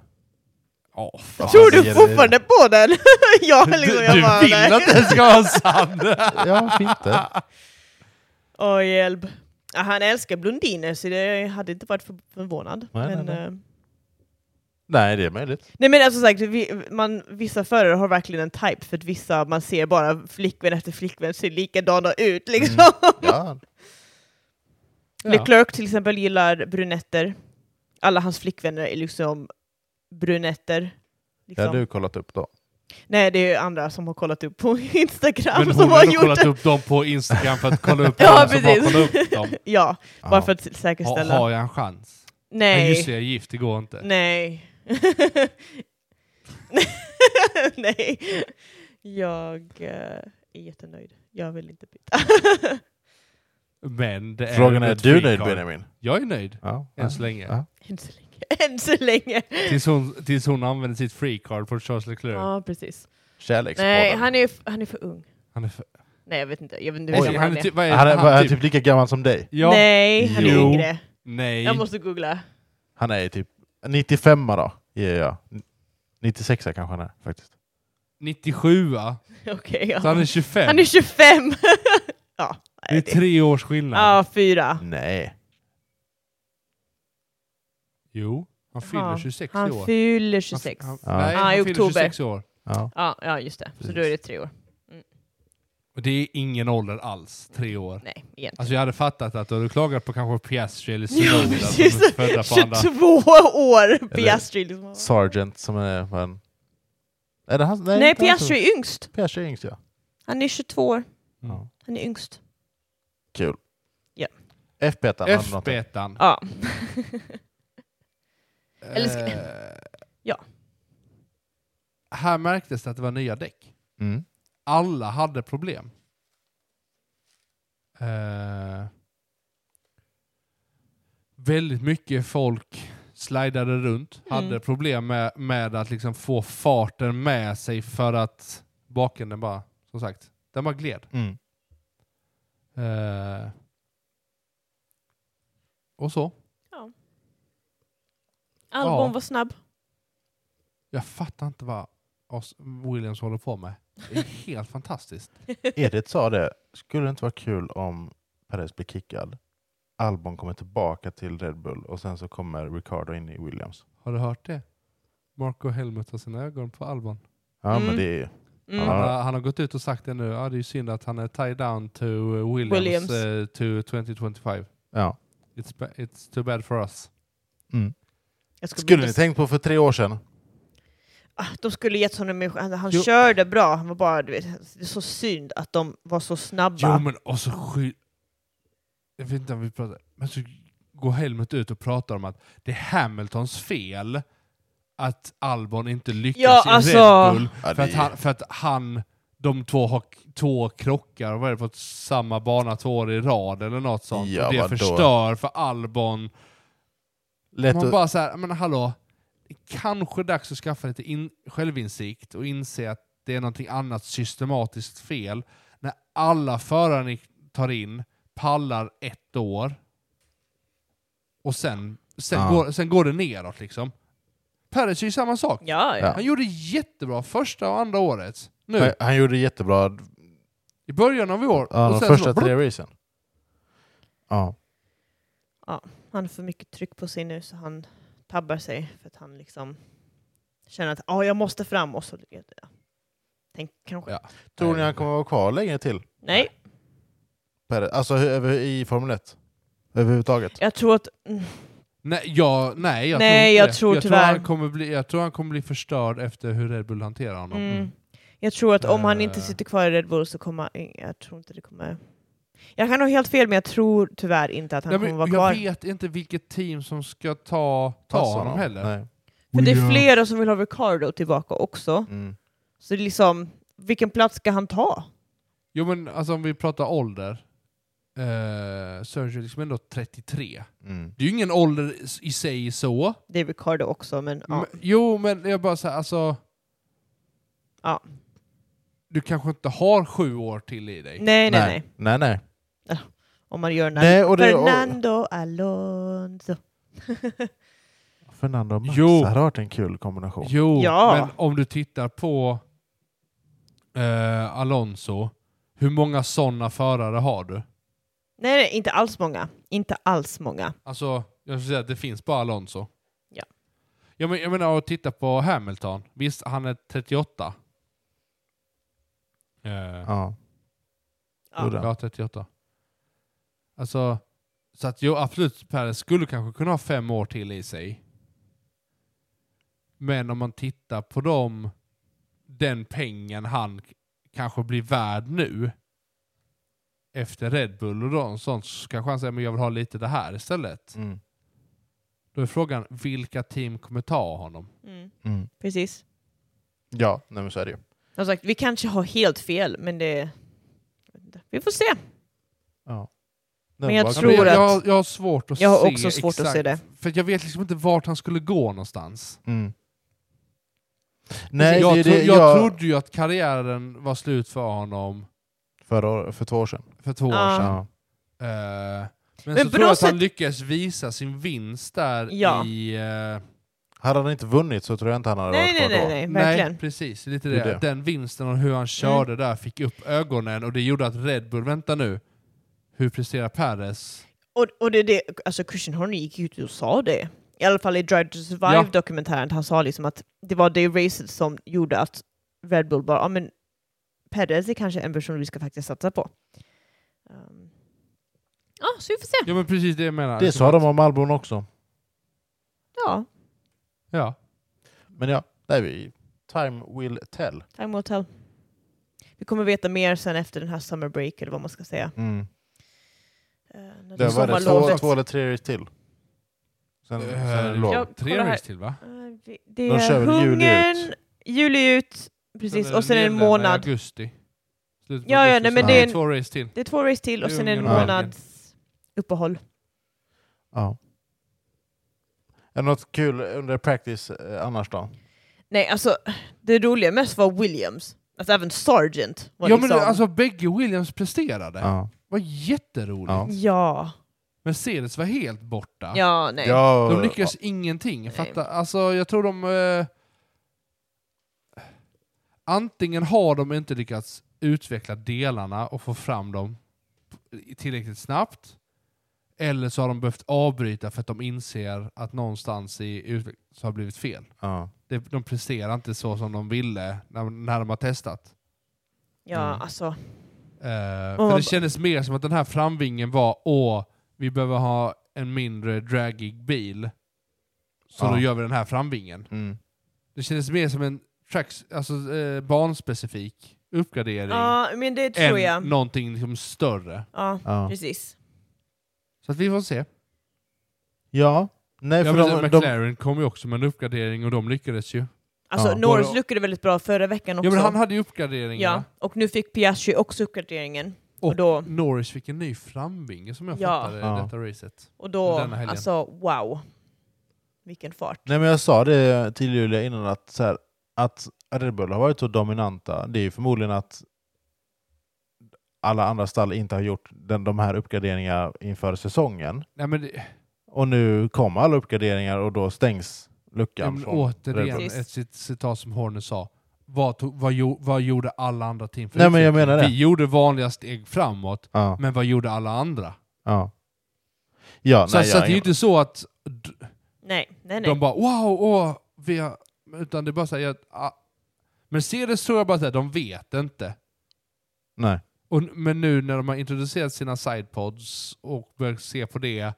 Ja, fan.
Vad fan
tror
säger det?
du fortfarande på den? ja, liksom, jag
du
bara,
vill
nej.
att den ska vara sann!
Ja, varför inte?
Åh, hjälp. Ja, han älskar blondiner, så det jag hade inte varit för- förvånad.
Nej,
men, ehm,
nej,
nej.
Nej, det är möjligt.
nej, men alltså sagt, vi, man, vissa förare har verkligen en type, för att vissa, man ser bara flickvän efter flickvän ser likadana ut
Mm.
liksom.
Ja.
Leclerc till exempel gillar brunetter. Alla hans flickvänner är liksom brunetter.
Det
Liksom.
har du kollat upp då.
Nej, det är andra som har kollat upp på Instagram
Men hon
som
har
har
ändå
gjort
kollat
det.
upp dem på Instagram för att kolla upp
Alltså, Ja,
dem, alltså, så bara
precis.
kolla upp dem.
Ja, bara
Ja.
för att
Ha,
säkerställa.
har jag en chans? Nej. Just det,
Nej,
jag är gift, det går inte.
nej. nej. Jag eh, är jättenöjd. Jag vill inte byta.
Men det är
Frågan är, är
ett
du
free
nöjd
card.
Benjamin?
Jag är nöjd,
Ja.
än så länge.
Ja.
Än så länge. Än så länge.
Tills hon, tills hon använder sitt free card från Charles Leclerc.
Ja, precis.
Kärlekspodden.
Nej, han är, han är för ung.
Han är, för,
Nej, jag vet inte. Jag vet inte hur
oj,
gammal
han är typ... Vad är
Han är, han är
typ,
typ lika gammal som dig.
ja, nej.
Nej, han är
Jo.
yngre. Jag måste googla.
Han är typ 95 då, ger jag. 96 kanske han är faktiskt.
97
Okej, ja.
Så han är 25.
Han är 25! ja,
det är
nej,
tre års skillnad.
ja, fyra.
Nej.
Jo, han fyller
Ja,
26 i år.
Han fyller
Han f-
26.
Han,
Ja.
Nej,
Ja,
han
i
fyller
oktober.
26 i år.
Ja.
Ja, ja, just det. Så då är det tre år.
Och det är ingen ålder alls, tre år.
Nej, egentligen.
Alltså jag hade fattat att du hade klagat på kanske Piastri eller
Ja,
Sunoda som
precis.
är födda på andra...
22 år! Piastri liksom.
Sergeant som är... vad han- Är det han? Nej,
Nej,
inte han som-
Piastri är yngst.
Piastri är yngst ja.
Han är 22 år.
Ja.
Han är yngst.
Kul.
Ja.
F-betan. hade någonting.
F-betan.
Ja. Eller ska-
Eh,
Ja.
Här märktes det att det var nya däck.
Mm.
Alla hade problem. Eh, väldigt mycket folk slidade runt,
Mm.
hade problem med, med att liksom få farten med sig för att baken den bara, som sagt, den bara gled.
Mm.
Eh, och så.
Albon
Ja.
var snabb.
Jag fattar inte vad Os- Williams håller på med. Det är helt fantastiskt.
Edith sa det, skulle det inte vara kul om Perez blir kickad? Albon kommer tillbaka till Red Bull och sen så kommer Ricardo in i Williams.
Har du hört det? Marco Helmut har sina ögon på Albon.
Ja
Mm.
men det är ju...
Mm.
Ja.
Han, har, han har gått ut och sagt det nu. Ja, det är ju synd att han är tied down to eh, Williams,
Williams.
eh, to 2025.
Ja.
It's, ba- it's too bad for us.
Jag skulle
Skulle
bli-
ni tänkt på för tre år sedan?
Ah, De skulle gett honom en chans. Han
Jo.
körde bra. Han var bara, du vet, det är så synd att de var så snabba.
Jo men och så sky- Jag vet inte om vi pratar... Men så går Helmut ut och pratar om att det är Hamiltons fel att Albon inte lyckas
Ja,
i
alltså-
Red Bull.
Ja,
För
det
att,
är-
han, för att han, de två har k- två krockar och vad är det, på samma bana två år i rad eller något sånt.
Ja,
och det
vadå?
förstör för Albon.
Lätt
Man
att-
bara såhär, men hallå, det kanske är dags att skaffa lite in, självinsikt och inse att det är någonting annat systematiskt fel. När alla förare ni tar in pallar ett år och sen, sen,
Ja.
går, sen går det neråt liksom. Perez är ju samma sak.
Ja, ja.
Ja.
Han gjorde jättebra första och andra året. Nu,
Han- Han gjorde jättebra
i början av i år.
ja,
och
de
sen
första
så bara,
tre racen. Ja.
han har för mycket tryck på sig nu så han tabbar sig för att han liksom känner att ah, jag måste fram och så ja. Tänk kanske.
Ja.
Tror ni han kommer vara kvar längre till?
Nej,
Perez? Alltså hur- över, i Formel 1? Överhuvudtaget?
jag tror att... Mm,
Nej, ja, nej, jag
Nej,
tror inte
jag
det.
tror
jag, tror
tyvärr-
han kommer bli, jag tror han kommer bli förstörd efter hur Red Bull hanterar honom. Mm.
Mm.
mm. Jag tror att om han inte
Eh.
eh, sitter kvar i Red Bull så kommer... Jag tror inte det kommer... Jag kan ha helt fel, men jag tror tyvärr inte att han
Nej,
kommer
men
vara
jag
kvar.
vet inte vilket team som ska ta, ta
Passa
honom heller.
Nej. uh,
För det är flera som vill ha Ricardo tillbaka också.
Mm.
Så det är liksom, vilken plats ska han ta?
Jo men alltså om vi pratar ålder. Eh, Sergio är liksom ändå 33.
Mm.
Det är ju ingen ålder i sig så.
Det är Ricardo också, men ja.
Men, jo men jag bara säger alltså.
Ja.
Du kanske inte har sju år till i dig.
Nej, nej, nej,
Nej, nej.
Om man gör när...
nej och det, och,
Fernando Alonso.
Fernando och Max
Jo.
hade varit en kul kombination.
Jo,
Ja.
men om du tittar på eh, Alonso. Hur många sådana förare har du?
nej, nej, inte alls många. Inte alls många.
Alltså, jag skulle säga att det finns bara Alonso.
Ja.
Jag, men, jag menar, att titta på Hamilton. Visst, han är 38. Eh, ja.
Ja.
Ja.
Jo då.
38. Alltså, så att jo, absolut, Perez skulle kanske kunna ha fem år till i sig. Men om man tittar på dem, den pengen han k- kanske blir värd nu efter Red Bull och då- sånt, så kanske han säger men jag vill ha lite det här istället.
Mm.
Då är frågan, vilka team kommer ta honom?
Mm,
Mm.
precis.
Ja, nej, men så är det ju.
Som sagt, vi kanske har helt fel, men det... Vi får se.
Ja.
Men jag
var-
tror
jag,
att-
jag, har- jag har svårt att
Jag har
se
också svårt att
exakt,
se det.
För jag vet liksom inte vart han skulle gå någonstans.
Mm. Nej,
jag,
det, är
tro,
det,
jag, trodde ju att karriären var slut för honom
förra, år- för två år sedan.
för två år
Ja.
sedan.
Ja.
Eh, men,
Men
så
på
tror jag
något
att han
sätt-
lyckades visa sin vinst där
Ja.
i... eh,
Hade han inte vunnit så tror jag inte han hade
Nej,
varit kvar
nej, nej,
då.
nej, verkligen. Mm.
nej, precis. det är Lite
Det är
det.
det.
Att Den vinsten och hur han körde där fick upp ögonen och det gjorde att Red Bull, vänta nu, hur presterar Perez?
Och, och det, är det, alltså Christian Horner gick ut och sa det. I alla fall i Drive to
Ja.
Survive-dokumentären. Han sa liksom att det var det racet som gjorde att Red Bull bara, ja men Perez är kanske en person vi ska faktiskt satsa på. Um, ja, så vi får se.
Ja men precis det jag menar.
Det
Liksom
sa
att-
de om Albon också.
Ja,
Ja.
Men ja, nej, vi, time will tell.
time will tell. Vi kommer veta mer sen efter den här summer break, eller vad man ska säga.
Mm.
Eh, när
Det var det två,
sommarlovet-
två eller tre race till. Sen, sen är det
Eh,
lov.
Ja.
Tre
kolla här.
race till va?
Eh, vi- Det
De kör
är
väl juli ut?
hungern, juli ut, precis, och sen är det en
Nederländerna i
månad.
augusti. Slut på
Ja, ja,
augusti,
nej,
så
men
det är
en-
två race till.
Det är två race till och
Det är
sen är det en
Ungern och Belgien.
månads uppehåll.
Ja. Är det något kul under practice eh, annars då?
Nej, alltså det roliga mest var Williams. Alltså även Sargent var
Ja men
liksom...
alltså bägge Williams presterade.
Ja.
var jätteroligt.
Ja.
Ja,
Mercedes var helt borta.
ja, nej.
Ja,
De lyckades ingenting. Jag,
Nej.
fattar. Alltså, jag tror de... Eh, antingen har de inte lyckats utveckla delarna och få fram dem tillräckligt snabbt. Eller så har de behövt avbryta för att de inser att någonstans i utvecklingen så har det blivit fel.
Ja.
Det- De presterar inte så som de ville när, när de har testat.
Ja,
Mm.
alltså.
Eh,
man
för
bara-
det kändes mer som att den här framvingen var åh, vi behöver ha en mindre dragig bil. Så
Ja.
då gör vi den här framvingen.
Mm.
Det kändes mer som en tracks, alltså, eh, banspecifik uppgradering
Ja, men det tror
än
jag.
någonting liksom större.
Ja,
Ja.
precis.
Så att vi får se.
ja. Nej,
Ja,
för
men, alltså,
de, de,
McLaren kom ju också med en uppgradering och de lyckades ju.
Alltså
Ja.
Norris
Både-
lyckades väldigt bra förra veckan också.
Ja men han hade ju uppgraderingar.
ja, och nu fick Piastri också uppgraderingen. Och,
Och-
då,
Norris fick en ny framvinge som jag
Ja.
fattade
Ja.
i detta racet.
och då
Denna helgen.
alltså wow. Vilken fart.
nej, men jag sa det till Julia innan att, så här, att Red Bull har varit så dominanta. Det är ju förmodligen att alla andra stall inte har gjort den, de här uppgraderingarna inför säsongen.
Nej, men det,
Och nu kommer alla uppgraderingar och då stängs
Ja,
luckan.
men
Från. Red
återigen
Bull.
ett cit- citat som Horner sa. Vad, tog, vad, gjo- vad gjorde alla andra team för
Nej, men jag
utveckling?
menar det.
Vi gjorde vanliga steg framåt,
Ja,
men vad gjorde alla andra?
ja. ja
så
nej,
så
jag
att det är ju inte så att d-
Nej, nej, nej.
de bara wow, åh, vi har... Utan det är bara såhär... Ah. Mercedes tror jag bara att de vet inte.
nej.
Och, n- men nu när de har introducerat sina sidepods och börjar se på det,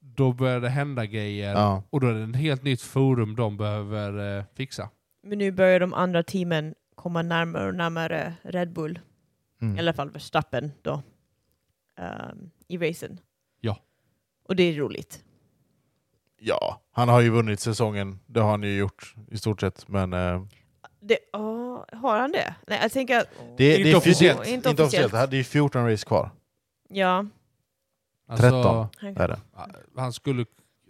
då börjar det hända grejer.
Ja.
Och då är det ett helt nytt forum de behöver eh, fixa.
Men nu börjar de andra teamen komma närmare och närmare Red Bull.
Mm.
I alla fall Verstappen då. ehm, i racen.
Ja.
Och det är roligt.
Ja, han har ju vunnit säsongen. Det har han ju gjort i stort sett. Men eh,
Det, ja, har han det? Nej, jag tänker att...
det,
Inte
det är
officiellt.
fjorton-
Inte
Inte
officiellt.
officiellt. Det här- Det är 14 race kvar.
Ja,
Alltså,
13.
han,
Det är det.
Ah, Han skulle...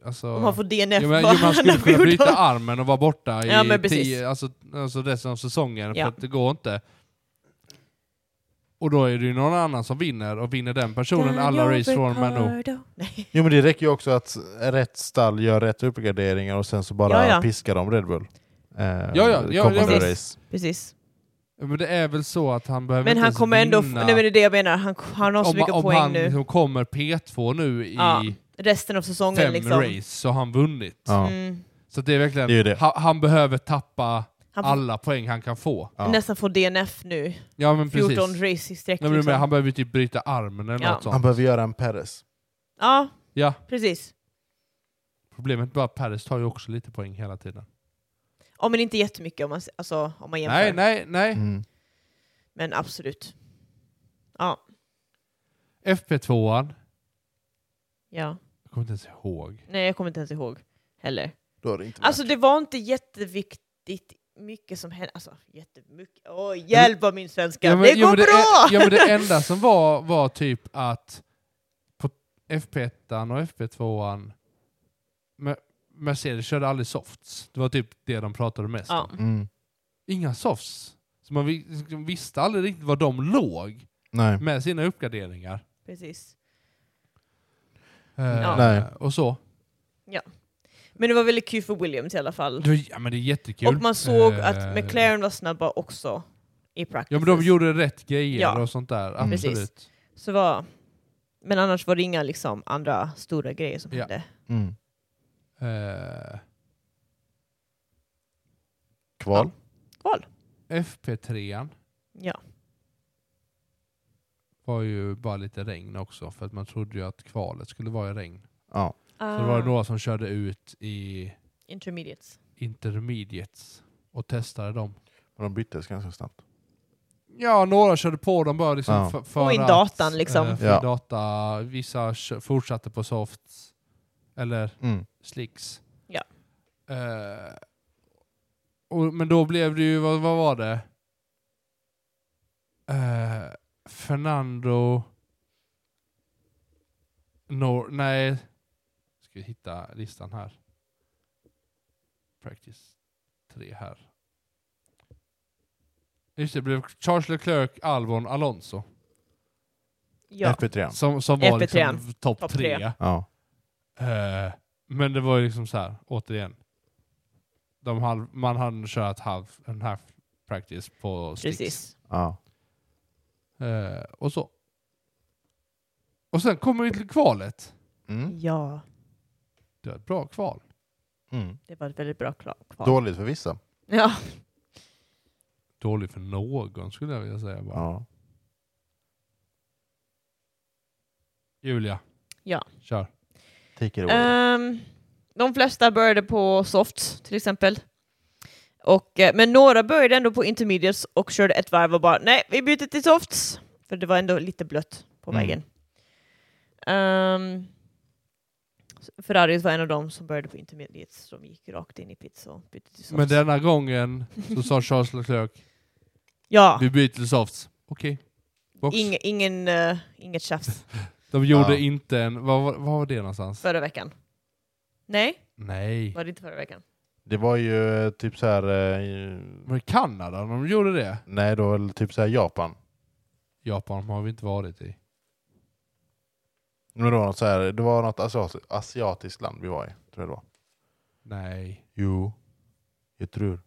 Alltså,
om han får DNF,
ja, men,
vad
jo, man skulle
han
kunna
gjort
bryta
då.
armen och vara borta i
Ja, men precis.
tio, alltså, alltså resten av säsongen,
Ja.
för att det går inte. Och då är det ju någon annan som vinner, och vinner den personen alla
Daniel
race från Manu.
Ricciardo. Nej.
Jo, men det räcker ju också att rätt stall gör rätt uppgraderingar och sen så bara
Ja, ja.
piskar de Red Bull. Eh,
ja, ja, ja,
kommande
precis.
race.
Precis.
Men det är väl så att han behöver
Men
inte
han
ens
kommer ändå... f-
vinna.
Nej men det är det jag menar, han han har så
om,
mycket
om
poäng
han
nu.
liksom kommer P2 nu i
Ja, Resten av säsongen
fem
liksom.
race så har han vunnit.
Ja.
Mm.
Så det är verkligen,
Det är ju det.
Han, han behöver tappa
Han får
alla poäng han kan få.
Ja.
nästan får DNF nu.
Ja men precis.
14 race i sträck.
Nej, men du
liksom.
menar, han behöver ju typ bryta armen eller
Ja.
något sånt.
Han behöver göra en Perez.
liksom. Ja,
Ja,
precis.
problemet bara att Paris tar ju också lite poäng hela tiden.
Ja, men inte jättemycket om man, s- alltså, om man jämför.
Nej, nej, nej.
Mm.
Men absolut.
FP2an,
Ja.
jag kommer inte ens ihåg.
Nej, jag kommer inte ens ihåg heller.
Då är det inte värt.
Alltså det var inte jätteviktigt mycket som hände. Alltså jättemycket. Åh, hjälp vad min svenska.
Ja, men-
det
ja, men
går bra!
Det, ja men det enda som var var typ att på FP1 och FP2an Me- Mercedes körde aldrig softs. Det var typ det de pratade mest om.
Ja.
mm.
Inga softs. Så man vi- visste aldrig riktigt var de låg
Nej.
med sina uppgraderingar.
precis.
Eh,
Ja.
Nej.
Och så.
Men det var väldigt kul för Williams i alla fall.
Det var, ja men det är jättekul.
Och man såg
Eh,
att McLaren var snabba också i practice.
Ja men de gjorde rätt grejer
Ja.
och sånt där.
Mm.
Absolut.
Precis. Så var... Men annars var det inga liksom, andra stora grejer som
Ja.
hände.
Mm.
Eh,
Kval.
FP3
Ja.
var ju bara lite regn också för att man trodde ju att kvalet skulle vara i regn.
Ja.
Så det var
Ah.
ju några som körde ut i
Intermediates.
intermediates och testade dem.
Och de byttes ganska snabbt.
Ja, några körde på dem bara liksom
Ja.
för, för
Få in
att,
datan, liksom.
eh, få in
Ja.
data. Vissa kö- fortsatte på softs eller
Mm.
slicks.
Ja.
Eh, och, men då blev det ju, vad, vad var det? Eh, Fernando... Nor nej. Ska vi hitta listan här. Practice 3 här. Just det, det blev Charles Leclerc, Albon, Alonso.
Ja.
FP3.
Som, som var
FP3.
liksom topp
Topp
tre.
tre.
Ja.
Eh, men det var ju liksom så här, återigen. De halv, man hade kört halv, en halv practice på sticks.
Precis.
Ja.
Eh, och så. Och sen kommer vi till kvalet.
Mm.
Ja,
Det var ett bra kval.
Mm.
det var ett väldigt bra kla- kval.
Dåligt för vissa.
Ja.
Dåligt för någon skulle jag vilja säga. Bara.
Ja.
Julia.
Ja.
Kör.
Take it away.
Ehm, de flesta började på soft till exempel. Och, eh, men några började ändå på intermediates och körde ett varv och bara nej, vi byter till softs. För det var ändå lite blött på
Mm.
vägen. Um, Ferrari var en av dem som började på intermediates som gick rakt in i pits och bytte till softs.
Men denna gången så sa Charles Leclerc,
ja,
vi byter till softs. Okej. Box.
ing, ingen, eh, inget tjafs
De gjorde
Ja.
inte en... Vad var, var det någonstans?
förra veckan. Nej,
Nej.
var det inte förra veckan?
Det var ju eh, typ så här... eh,
Var det Kanada de gjorde det?
Nej, då var det typ så här Japan.
Japan har vi inte varit i.
Men det var något, så här, det var något asiat, asiatiskt land vi var i, tror jag det var.
Nej.
Jo, jag tror.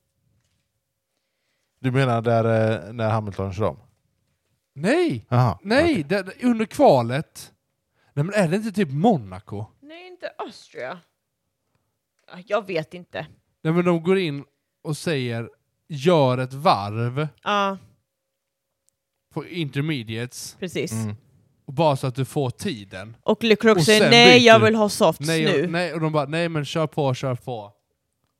Du menar där eh, när Hamilton kör om?
Nej!
Aha,
Nej!
okej.
Det, det- under kvalet. Nej men är det inte typ Monaco?
Nej, inte Austria. Ja, Jag vet inte.
Nej men de går in och säger gör ett varv
Ja,
på intermediates
precis.
Mm.
och bara så att du får tiden.
Och LeClerc
Och
säger
sen
nej,
byter
jag
du.
vill ha softs
Nej
nu.
och, nej och de bara nej men kör på, kör på.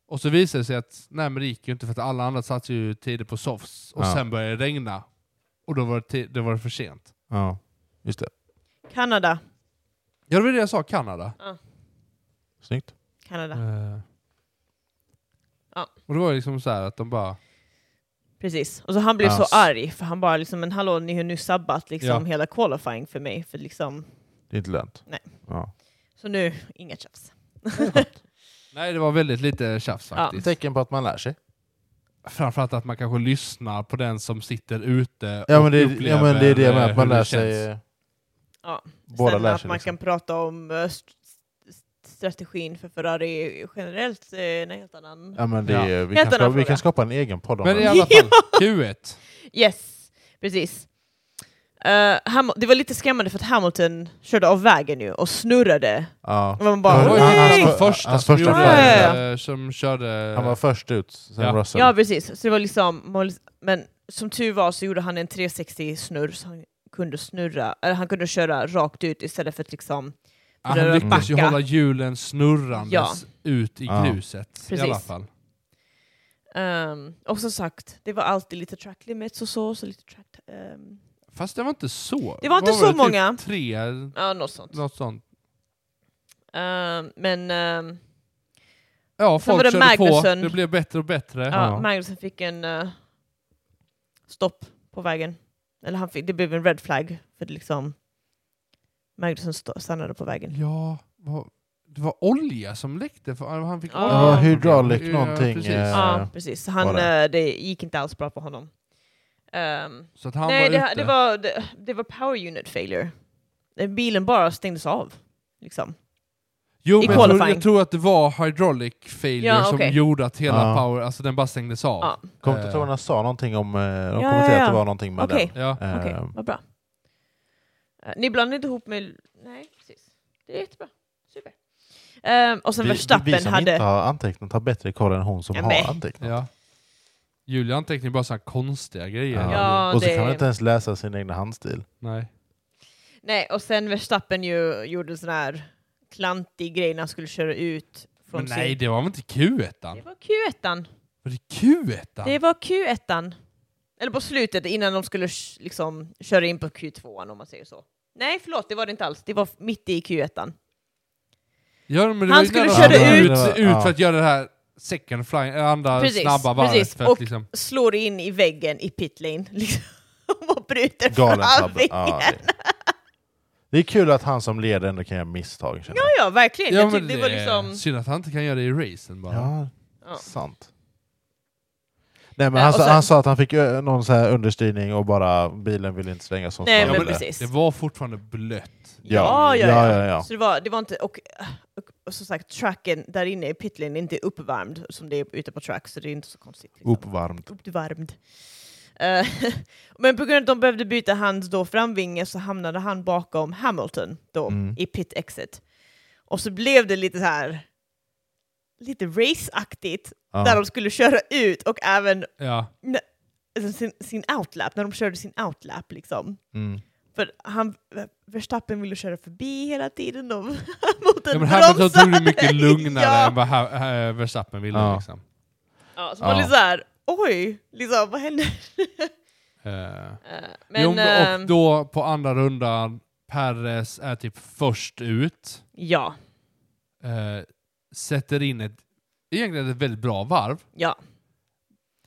Och så visar det sig att nej men det gick ju inte för att alla andra satte ju tider på softs och
Ja.
sen började det regna. Och då var det, ti- då var det för sent.
Ja, just det.
Kanada.
Ja, det var det jag sa, Kanada.
Snyggt.
Kanada.
Eh.
Ja.
Och det var ju liksom så här att de bara...
Precis. Och så han blev
Ass.
så arg, för han bara liksom, men hallå, ni har nu sabbat liksom
Alltså. Ja.
hela qualifying för mig. För liksom,
Det är inte lönt.
Nej.
Ja.
så nu, inga tjafs.
Nej, det var väldigt lite tjafs
Ja.
faktiskt.
Tecken på att man lär sig.
Framförallt att man kanske lyssnar på den som sitter ute
Ja
och
men det,
upplever
ja, men det är det jag menar,
eh,
att man
hur det
lär
känns.
sig. eh,
Ja.
Båda
Sen
lär
att
sig.
man
Liksom.
kan prata om eh, st- st- strategin för Ferrari generellt, eh, en helt annan...
Ja, men det,
Ja.
är- Vi,
Helt
kan
annan
skapa, vi
fråga.
kan skapa en egen podd om
Men i
det.
alla fall, Q1.
Yes, precis. Eh, Ham- det var lite skrämmande för att Hamilton körde av vägen ju och snurrade.
Ja.
Och man
Ja,
bara,
det var ju
han-
nej!
han-
hans första,
hans
som,
första
gjorde,
flagga.
eh, som körde...
Han var först ut, sen
Ja.
Russell.
Ja, precis. Så det var liksom, man var liksom- men som tur var så gjorde han en 360-snurr så han kunde snurra, eller han kunde köra rakt ut istället för att liksom,
Ja, han lyckas ju
backa.
hålla hjulen snurrandes
Ja.
ut i
Ja.
gruset i
Precis.
alla fall.
ehm, och som sagt, det var alltid lite track limits och så, så lite track, ehm,
Fast det var inte så.
Det var inte så
väl typ
många.
Tre,
ja något sånt.
något sånt.
Ehm, men ehm,
Ja,
Sen var
folk
det
körde
Magnussen.
på. Det blev bättre och bättre.
ja, Magnusen fick en eh, stopp på vägen. Eller han fick, det blev en red flag, för det liksom Magnusen stå- stannade på vägen.
Ja, vad- det var olja som läckte. För han fick
Ja.
olja.
Det var hydraulic
Ja,
någonting.
precis.
eh,
Ja, precis. Så han,
var det.
eh, det gick inte alls bra för honom. Ehm,
Så att han
Nej,
var
det,
ute.
det, var, det, det var power unit failure. Eh, Bilen bara stängdes av. Liksom.
jo,
i
men jag, tror,
qualifying.
jag tror att det var hydraulic failure
Ja, okej.
som gjorde att hela
Ja.
power, alltså den bara stängdes av.
Ja.
Kommentatorerna sa någonting om, eh, de
ja,
kommenterade att
ja.
det var någonting med
Okej,
Ja.
den.
okej,
Eh,
vad bra. Eh, Ni blandar inte ihop med... Nej, precis. Det är jättebra. Super. Ehm, och sen
vi,
Verstappen
vi som
hade...
inte har antecknat har bättre koll än hon som
Ja,
har
men-
antecknat.
Ja. Julia antecknar bara så här konstiga grejer.
Ja,
och så
det-
kan man inte ens läsa sin egna handstil.
Nej.
Nej, och sen Verstappen ju gjorde en sån här klantig grej när han skulle köra ut från
Men nej,
sin...
det var väl inte Q1?
Det var Q1.
Var det Q1?
Det var Q1. Eller på slutet, innan de skulle sh- liksom köra in på Q2 om man säger så. Nej, förlåt, det var det inte alls. Det var f- mitt i Q1.
Ja, men det
Han
var ju
skulle
när
köra
han
ut-
var ut
Ja.
för att göra det här second flying, eller andra
Precis,
snabba varvet.
precis.
För att
Och-
liksom,
slår in i väggen i pit lane liksom, och bryter
Galen
fram.
tabbe. Ja, det. det är kul att han som leder ändå kan göra misstag. känner
Ja, ja, verkligen.
ja,
jag
men
tyckte
det
det var liksom...
Synd att han inte kan göra det i racen bara.
jag. Ja,
Ja.
sant. Nej, men
Eh,
han,
och
sa-
sen-
han sa att han fick ö, någon så här understyrning och bara bilen ville inte svänga som
Nej,
snabbt.
Ja,
men
men
precis.
Det var fortfarande blött.
Ja, ja, ja.
ja.
Så det var, det var inte... Och, och, och som sagt, tracken där inne i pit lane är inte uppvärmd som det är ute på track, så det är inte så konstigt. Liksom.
Uppvärmt.
Uppvärmd. Eh, men på grund av att de behövde byta hans då framvinge så hamnade han bakom Hamilton då
Mm.
i pit exit. Och så blev det lite så här lite raceaktigt
Ja.
där de skulle köra ut och även
Ja.
alltså, sin, sin outlap, när de körde sin outlap liksom.
Mm.
För han, Verstappen ville köra förbi hela tiden och mot en
ja men Hamilton
bromsade.
tog det mycket lugnare
ja.
än vad ha, ha, Verstappen ville.
Ja.
Liksom.
Ja, så man
Ja.
blir såhär, oj, liksom, vad hände?
Eh,
Eh, Men,
jo, men,
ehm,
och då på andra rundan, Perez är typ först ut.
ja,
eh, sätter in ett, egentligen ett väldigt bra varv.
ja,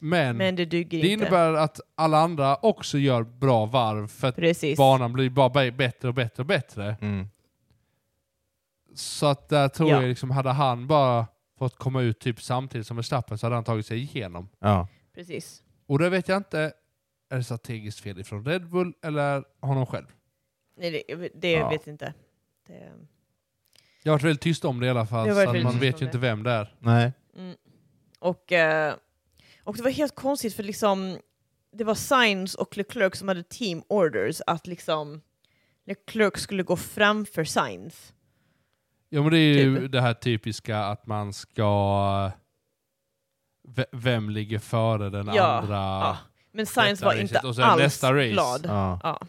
Men,
men det duger
det
inte.
innebär att alla andra också gör bra varv för att
Precis.
banan blir bara bä- bättre och bättre och bättre.
Mm.
Så att där tror
Ja.
jag liksom, hade han bara fått komma ut typ samtidigt som Verstappen så hade han tagit sig igenom.
Ja.
Precis.
Och det vet jag inte, är det strategiskt fel ifrån Red Bull eller honom själv?
Nej, det, jag vet- det
Ja.
vet jag inte. Det,
Jag har varit väldigt tyst om det i alla fall,
Det har
så
varit
att
väldigt
man
tyst
vet
om
ju
det.
inte vem det är.
Nej.
mm. och, eh, och det var helt konstigt för liksom, det var Sainz och Leclerc som hade team orders att liksom Leclerc skulle gå framför Sainz.
Ja men det är ju
Typ.
det här typiska att man ska... V- vem ligger före den
Ja,
andra?
ja. Men Sainz
Detta
var
racet.
inte
Och
alls
sen nästa race.
glad.
Ja.
Ja.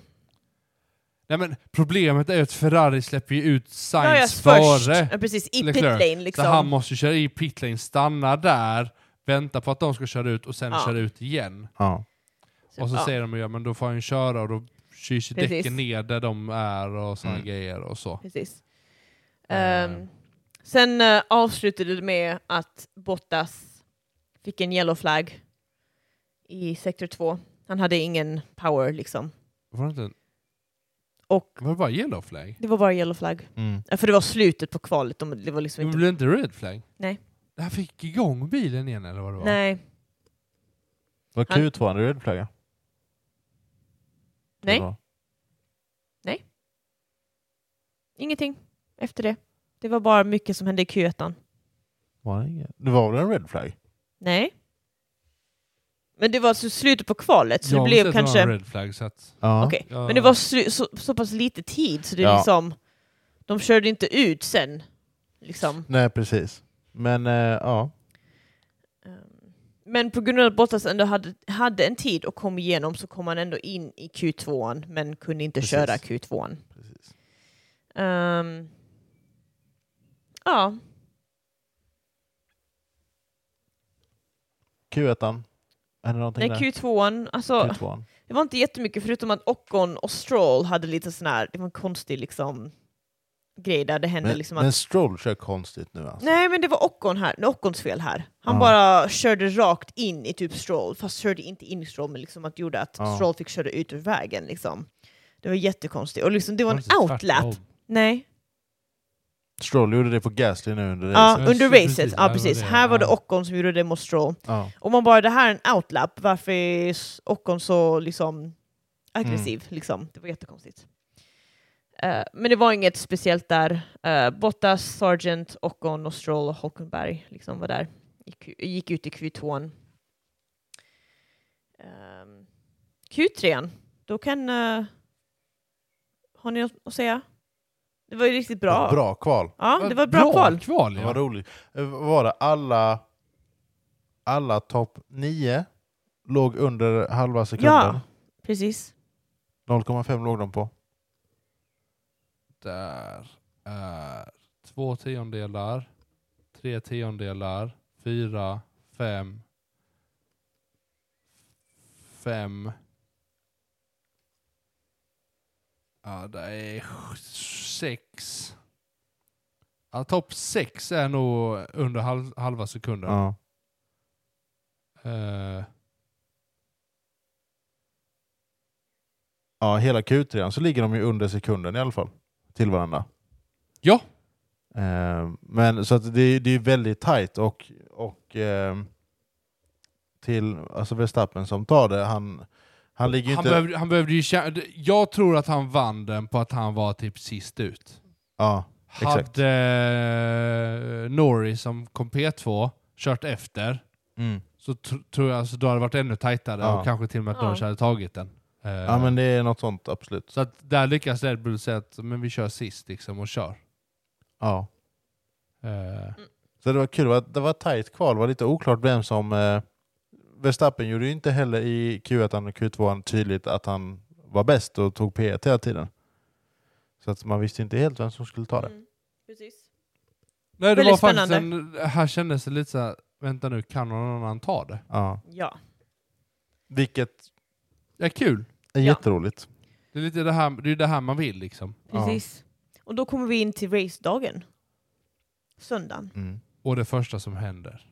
Nej men problemet är ju att Ferrari släpper ju ut
Ja, ja,
Sainz före.
först. Ja, precis, i pit
Leclerc.
lane liksom.
Så han måste ju köra i pitlane, stanna där, vänta på att de ska köra ut och sen
Ja.
köra ut igen.
Ja.
Så-
och så
ja.
säger de ju ja, men då får han ju köra och då kyls ju
Precis.
däcken ner där de är och sådana
Mm.
grejer och så.
Precis.
Eh.
Ehm, sen eh, avslutade det med att Bottas fick en yellow flag i sektor 2. Han hade ingen power liksom.
Var det, inte,
Och
var det bara yellow flag?
det var bara yellow flag.
Mm.
Ja, För det var slutet på kvalet. De- Det var liksom
Men
inte...
blev det inte red flag?
Nej.
Det här fick igång bilen igen eller vad det var?
Nej.
Var
Han-
Q2 en röd flagga?
Nej.
Det var-
Ingenting efter det. Det var bara mycket som hände i Q1.
Var det, ingen? det var väl en red flag?
Nej. Men det var så slutet på kvalet, så
Jag
det
har
blev
sett några
kanske...
red flag så att...
Ja.
Okej.
Ja.
Men det var så, så, så pass lite tid, så det är
Ja.
liksom... De körde inte ut sen. Liksom.
Nej, precis. Men eh, ja.
Ehm, Men på grund av att Bottas ändå hade, hade en tid och kom igenom så kom han ändå in i Q2, men kunde inte
Precis.
köra Q2.
Precis.
Ehm, ja,
Q1. Hände någonting
nej,
där?
Q2, alltså...
Q2.
Det var inte jättemycket förutom att Ockon och Stroll hade lite sån här, det var en konstig liksom grej där det hände
Men,
liksom att...
men Stroll kör konstigt nu alltså.
Nej men det var Ockon här, det var Ockons fel här. Han
Ja.
bara körde rakt in i typ Stroll, fast körde inte in i Stroll men liksom att gjorde att
Ja.
Stroll fick köra ut ur vägen liksom. Det var jättekonstigt, och liksom det var en
inte tvärtom?
outlap. Nej,
Stroll gjorde det på Gasly nu under
ja,
racet.
precis,
under
precis,
racet.
det
Ja
var
precis,
det,
här var det
ja.
Ockon som gjorde det mot Stroll.
Ja.
Och man bara, det här är en outlap, varför är s- Ockon så liksom aggressiv? Liksom. Det var jättekonstigt. Eh, men det var inget speciellt där. Eh, Bottas, Sargent, Ockon och Stroll och Holkenberg liksom var där. Gick, gick ut i Q2. Um, Q3, då kan... eh, har ni något att säga? Det var ju riktigt bra.
Bra kval.
Ja, det var ett bra, kval.
kval
Det
ja.
var roligt. Eh, Var det alla, alla topp 9 låg under halva sekunden?
Precis.
0,5 låg de på.
där är två tiondelar, tre tiondelar, fyra, fem, fem. Ja, det är sj- sex. Ja, topp sex är nog under halv, halva sekunden.
Ja.
Eh,
ja, hela Q3 så ligger de ju under sekunden i alla fall. Till varandra.
ja,
Eh, men så att det, är- det är väldigt tajt och, och ehm, till alltså Verstappen som tar det, han, han ligger ju
han,
inte...
behövde, han behövde ju tjä- Jag tror att han vann den på att han var typ sist ut.
Ja, Exakt.
Hade eh, Norris som kom P2 kört efter
mm.
så tr- tror jag alltså, då hade det varit ännu tajtare
Ja.
och kanske till och med att
Ja.
Norris hade tagit den. Eh,
ja men det är något sånt absolut.
Så att där lyckas Red Bull säga att men vi kör sist liksom och kör.
Ja.
Eh,
Så det var kul, det var- det var ett tajt kval, det var lite oklart vem som... Eh, Verstappen gjorde ju inte heller i Q1 och Q2 tydligt att han var bäst och tog P1 hela tiden. Så att man visste inte helt vem som skulle ta det.
Mm, precis.
nej det var
Väldigt
faktiskt en, här kändes det lite såhär, vänta nu kan någon annan ta det?
Ja.
Ja.
Vilket
Det är kul.
är
Ja.
jätteroligt.
Det är lite det här, det är det här man vill liksom.
Ja.
Precis. Och då kommer vi in till racedagen. Söndagen.
Mm.
Och det första som händer,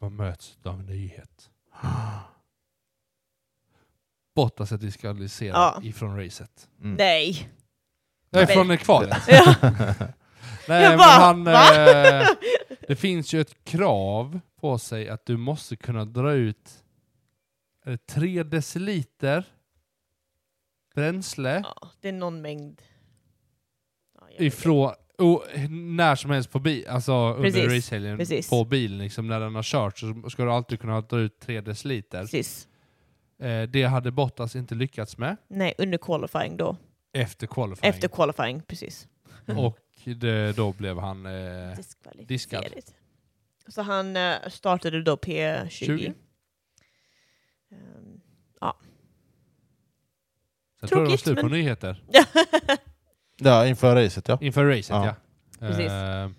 man möts av en nyhet. Bottas är diskvalificerad
Ja.
ifrån racet.
Mm.
Nej!
Nej,
Nej.
från kvalet.
Ja.
Nej,
Jag
men
bara,
han,
va?
eh, det finns ju ett krav på sig att du måste kunna dra ut är det tre deciliter bränsle
ja, det är någon mängd. Ja, jag vet
ifrån och när som helst på bil, alltså under
Precis,
racehelgen
precis.
på bilen, liksom, när den har kört så ska du alltid kunna dra ut tre deciliter.
inte. Precis.
Eh, det hade Bottas inte lyckats med
Nej, under qualifying då.
efter qualifying.
Efter Mm. qualifying, precis.
Och det, då blev han... Eh,
Diskvalificerad. Så han eh, startade då P20.
20.
Ehm,
sen tror jag det var
Tråkigt,
slut på
men-
nyheter.
ehm,
Ja, inför racet ja.
Inför racet, ja.
Ja.
Precis.
Eh,
ehm,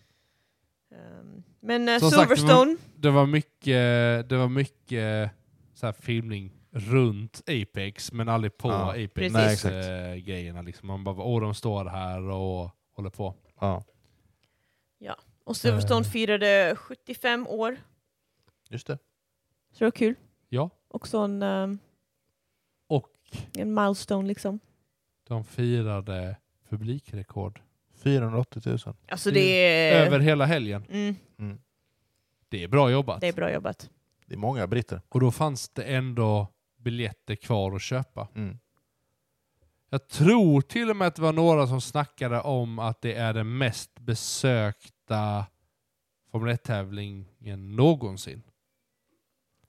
Men eh,
Som sagt, det var-
Silverstone,
det var mycket, det var mycket eh, så här filmning runt Apex men aldrig på
Ja,
precis. Nej,
Apex
exakt.
eh, grejerna. Liksom. Man bara, åh de står här och håller på.
Ja,
Och Silverstone
Eh.
firade 75 år.
just det.
Så det var kul.
Ja,
Också en, eh,
och
en milestone liksom.
de firade publikrekord
480 000.
Alltså
Det
det är...
över hela helgen.
Mm,
Det är bra jobbat.
det är bra jobbat.
Det är många britter.
Och då fanns det ändå biljetter kvar att köpa.
Mm.
Jag tror till och med att det var några som snackade om att det är den mest besökta Formel 1-tävlingen någonsin.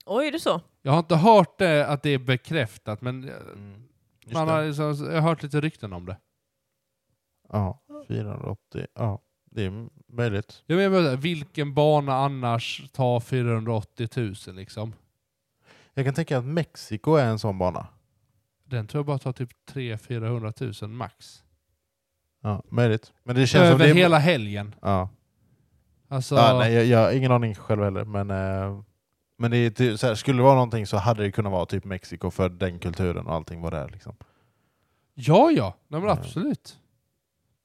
Oj, är det så?
Jag har inte hört det, att det är bekräftat, men eh,
Mm. Just
man
det.
har, liksom, jag har hört lite rykten om det.
Ja, 480. Ja, det är möjligt.
Jag menar, bara, vilken bana annars tar 480 000 liksom?
Jag kan tänka att Mexiko är en sån bana.
Den tror jag bara tar typ 300-400 000 max.
Ja, möjligt. Men det känns som
Över
det är...
hela helgen.
Ja.
Alltså,
Ja, nej, jag, jag har ingen aning själv heller, men, eh, men det är ty- så här, skulle det vara någonting så hade det kunnat vara typ Mexiko för den kulturen och allting var där. Liksom.
ja, ja. Nej, men
Ja.
absolut.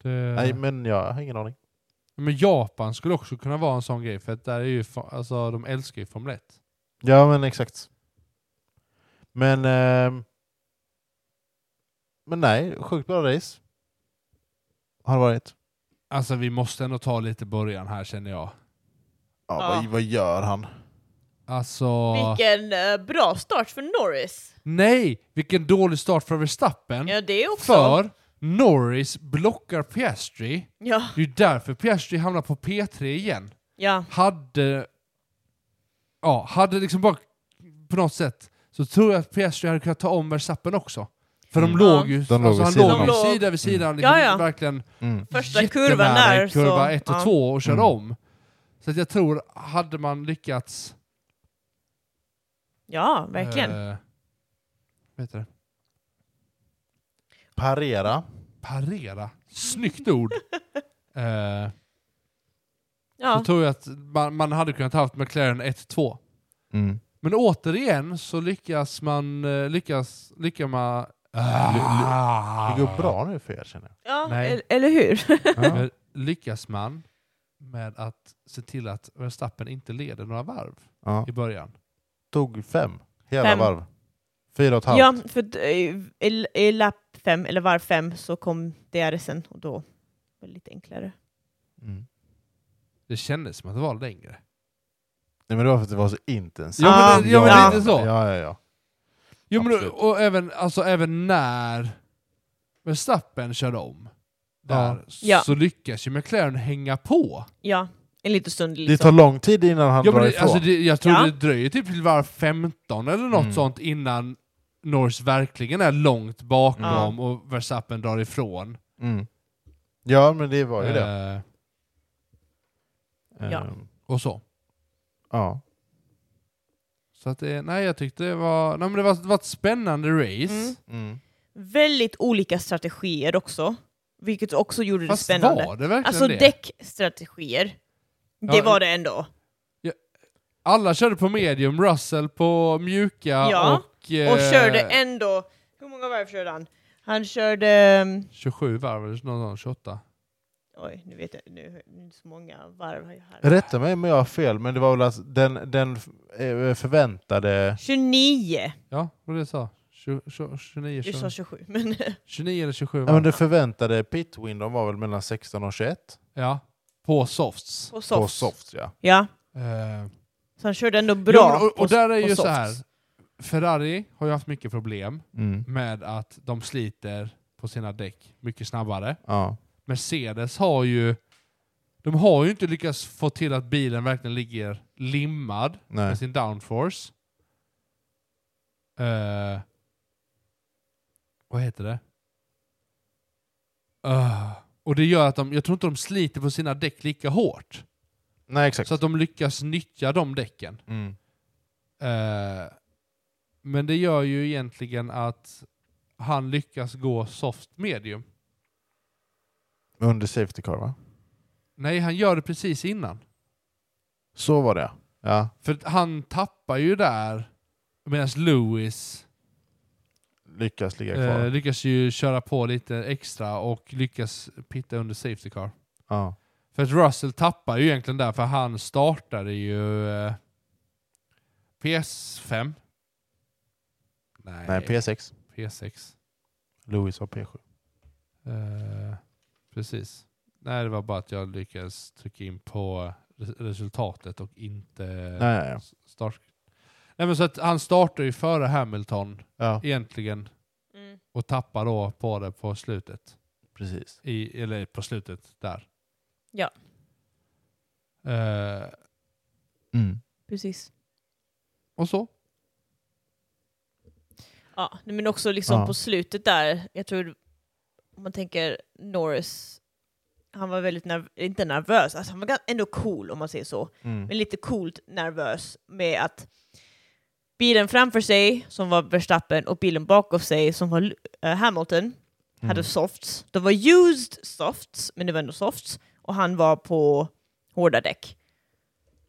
Det...
Nej, men jag har ingen aning.
Men Japan skulle också kunna vara en sån grej, för att där är ju, fa- alltså, de älskar ju Formel 1.
Ja, men exakt. Men, eh, men nej, sjukt bra race. Har det varit.
Alltså vi måste ändå ta lite början här känner jag.
Ja,
Ja.
Vad, vad gör han?
Alltså...
Vilken eh, bra start för Norris.
Nej! Vilken dålig start för Verstappen.
Ja, det också.
för Norris blockar Piastri.
Ja,
Det är ju därför Piastri hamnar på P3 igen.
ja.
Hade... Ja, hade liksom bara på något sätt så tror jag att Piastri hade kunnat ta om Verstappen också. För de
Mm.
låg ju,
De låg vid
alltså, han
sidan
låg ju
om.
sida vid sida, liksom,
Ja, ja.
verkligen
Mm.
Första
jättenära
kurvan där,
i kurva
så-
1 och
ja.
2 och körde
Mm.
om. Så att jag tror, hade man lyckats...
Ja, verkligen.
Eh, vad heter det?
Parera.
Parera. Snyggt ord! eh,
ja.
Så tror jag att man, man hade kunnat haft McLaren 1-2.
Mm.
Men återigen så lyckas man... eh, Lyckas... Lyckas man... Ah.
Det går bra nu för er känner jag.
ja
nej.
el- eller hur?
Men Eh, Lyckas man med att se till att Verstappen inte leder några varv
Ja.
i början.
Tog fem hela
Fem.
varv. Fyra och ett halvt.
ja, för att, eh, i, i lapp fem, eller varv fem, så kom DRSen och då var det lite enklare.
Mm.
Det kändes som att det var längre.
Nej, men det var för att det var så intensivt.
Ja,
men det- ja, men
lite så.
Ja, ja, ja.
Jo, men,
Absolut.
och även, alltså, även när Verstappen körde om där,
Ja.
så lyckas ju McLaren hänga på.
Ja, en liten stund
Det
liksom.
tar lång tid innan han
Ja,
drar
men det,
ifrån.
alltså, det, jag tror
Ja.
det dröjer typ till varv 15 eller något
Mm.
sånt innan Norris verkligen är långt bakom och Verstappen drar ifrån.
Mm. Ja, men det var ju det.
Eh,
ja.
Ehm,
och så.
ja.
Så att det, nej, jag tyckte det var, nej, men det var, det var ett spännande race.
Mm.
Mm.
Väldigt olika strategier också, vilket också gjorde
Fast
det spännande.
var det verkligen
Alltså
det?
däckstrategier, det
Ja,
var det ändå.
Alla körde på medium, Russell på mjuka
Ja,
och... eh,
Och körde ändå, hur många varv körde han? Han körde, ehm,
27 varv eller någon sån, 28.
oj nu vet jag, nu, nu är det så många varv har jag här.
Rätta mig om jag har fel, men det var väl att den, den eh, förväntade...
29,
Ja, vad det sa. 20, 29,
du
20,
sa 27, men
29 eller 27
Ja, men
varv.
det förväntade pitwin, de var väl mellan 16 och 21?
Ja, på softs.
på
På
softs.
soft, ja.
Ja,
Eh,
så han körde ändå
jo,
bra
men och,
på-
och där är
på
ju så
softs.
här. Ferrari har ju haft mycket problem
Mm.
med att de sliter på sina däck mycket snabbare.
Ja.
Mercedes har ju... De har ju inte lyckats få till att bilen verkligen ligger limmad
Nej.
med sin downforce. Eh, vad heter det? Ah, och det gör att de, jag tror inte de sliter på sina däck lika hårt.
Nej, exakt.
Så att de lyckas nyttja de däcken.
Mm.
Eh, men det gör ju egentligen att han lyckas gå soft medium.
Under safety car, va?
Nej, han gör det precis innan.
Så var det, ja.
För att han tappar ju där medan Lewis
lyckas ligga kvar.
Eh, lyckas ju köra på lite extra och lyckas pitta under safety car.
ja.
För att Russell tappar ju egentligen där, för han startade ju eh, PS5. Nej,
Nej, P6.
PS6.
Louis var P7.
Eh, precis. Nej, det var bara att jag lyckades trycka in på res- resultatet och inte
Nej, nej, nej.
s- start. Nej, men så att han startar ju före Hamilton
Ja,
egentligen
Mm.
och tappar då på det på slutet.
precis.
I, eller på slutet där.
Ja.
Eh,
Mm.
Precis.
och så.
Ja, nej, men också liksom
Ja.
på slutet där, jag tror, om man tänker Norris, han var väldigt nerv inte nervös, alltså han var gan- ändå cool om man säger så,
Mm.
men lite coolt nervös med att bilen framför sig, som var Verstappen, och bilen bakom sig, som var eh, Hamilton,
Mm.
hade
Mm.
softs. De var used softs, men det var ändå softs, och han var på hårda däck.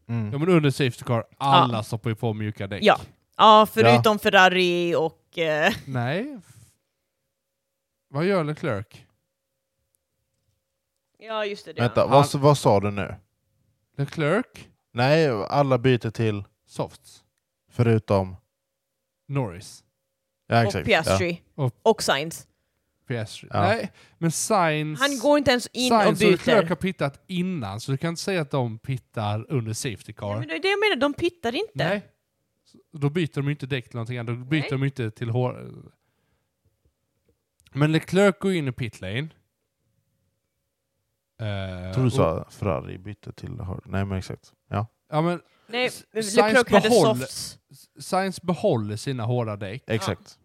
Mm.
Ja, men under safety car, alla stoppar ju på mjuka däck.
Ja. Ja, förutom Ferrari och... Eh,
Nej. Vad gör Leclerc?
ja, just det.
Vänta,
Han-
vad, vad sa du nu?
Leclerc,
Nej, alla byter till
softs,
förutom...
Norris.
Ja,
Ja. Och
exakt.
Piastri.
Och-
Och Sainz.
Piastri.
Ja.
Nej, men Sainz...
Han går inte ens in
Sainz
och byter.
Leclerc har pittat innan, så du kan inte säga att de pittar under safety car.
Ja, men det är det jag menar, de pittar inte.
Nej. Så Då byter de ju inte däck till någonting annat. Då byter
Nej.
de ju inte till hår... Men Leclerc går in i pit lane. Eh,
Ja. Tror du
och-
sa Ferrari bytte till... Nej, men exakt. Ja.
Ja, men
Nej,
S-
Leclerc
Sainz
hade
behåll-
softs.
Sainz behåller sina hårda däck.
Exakt.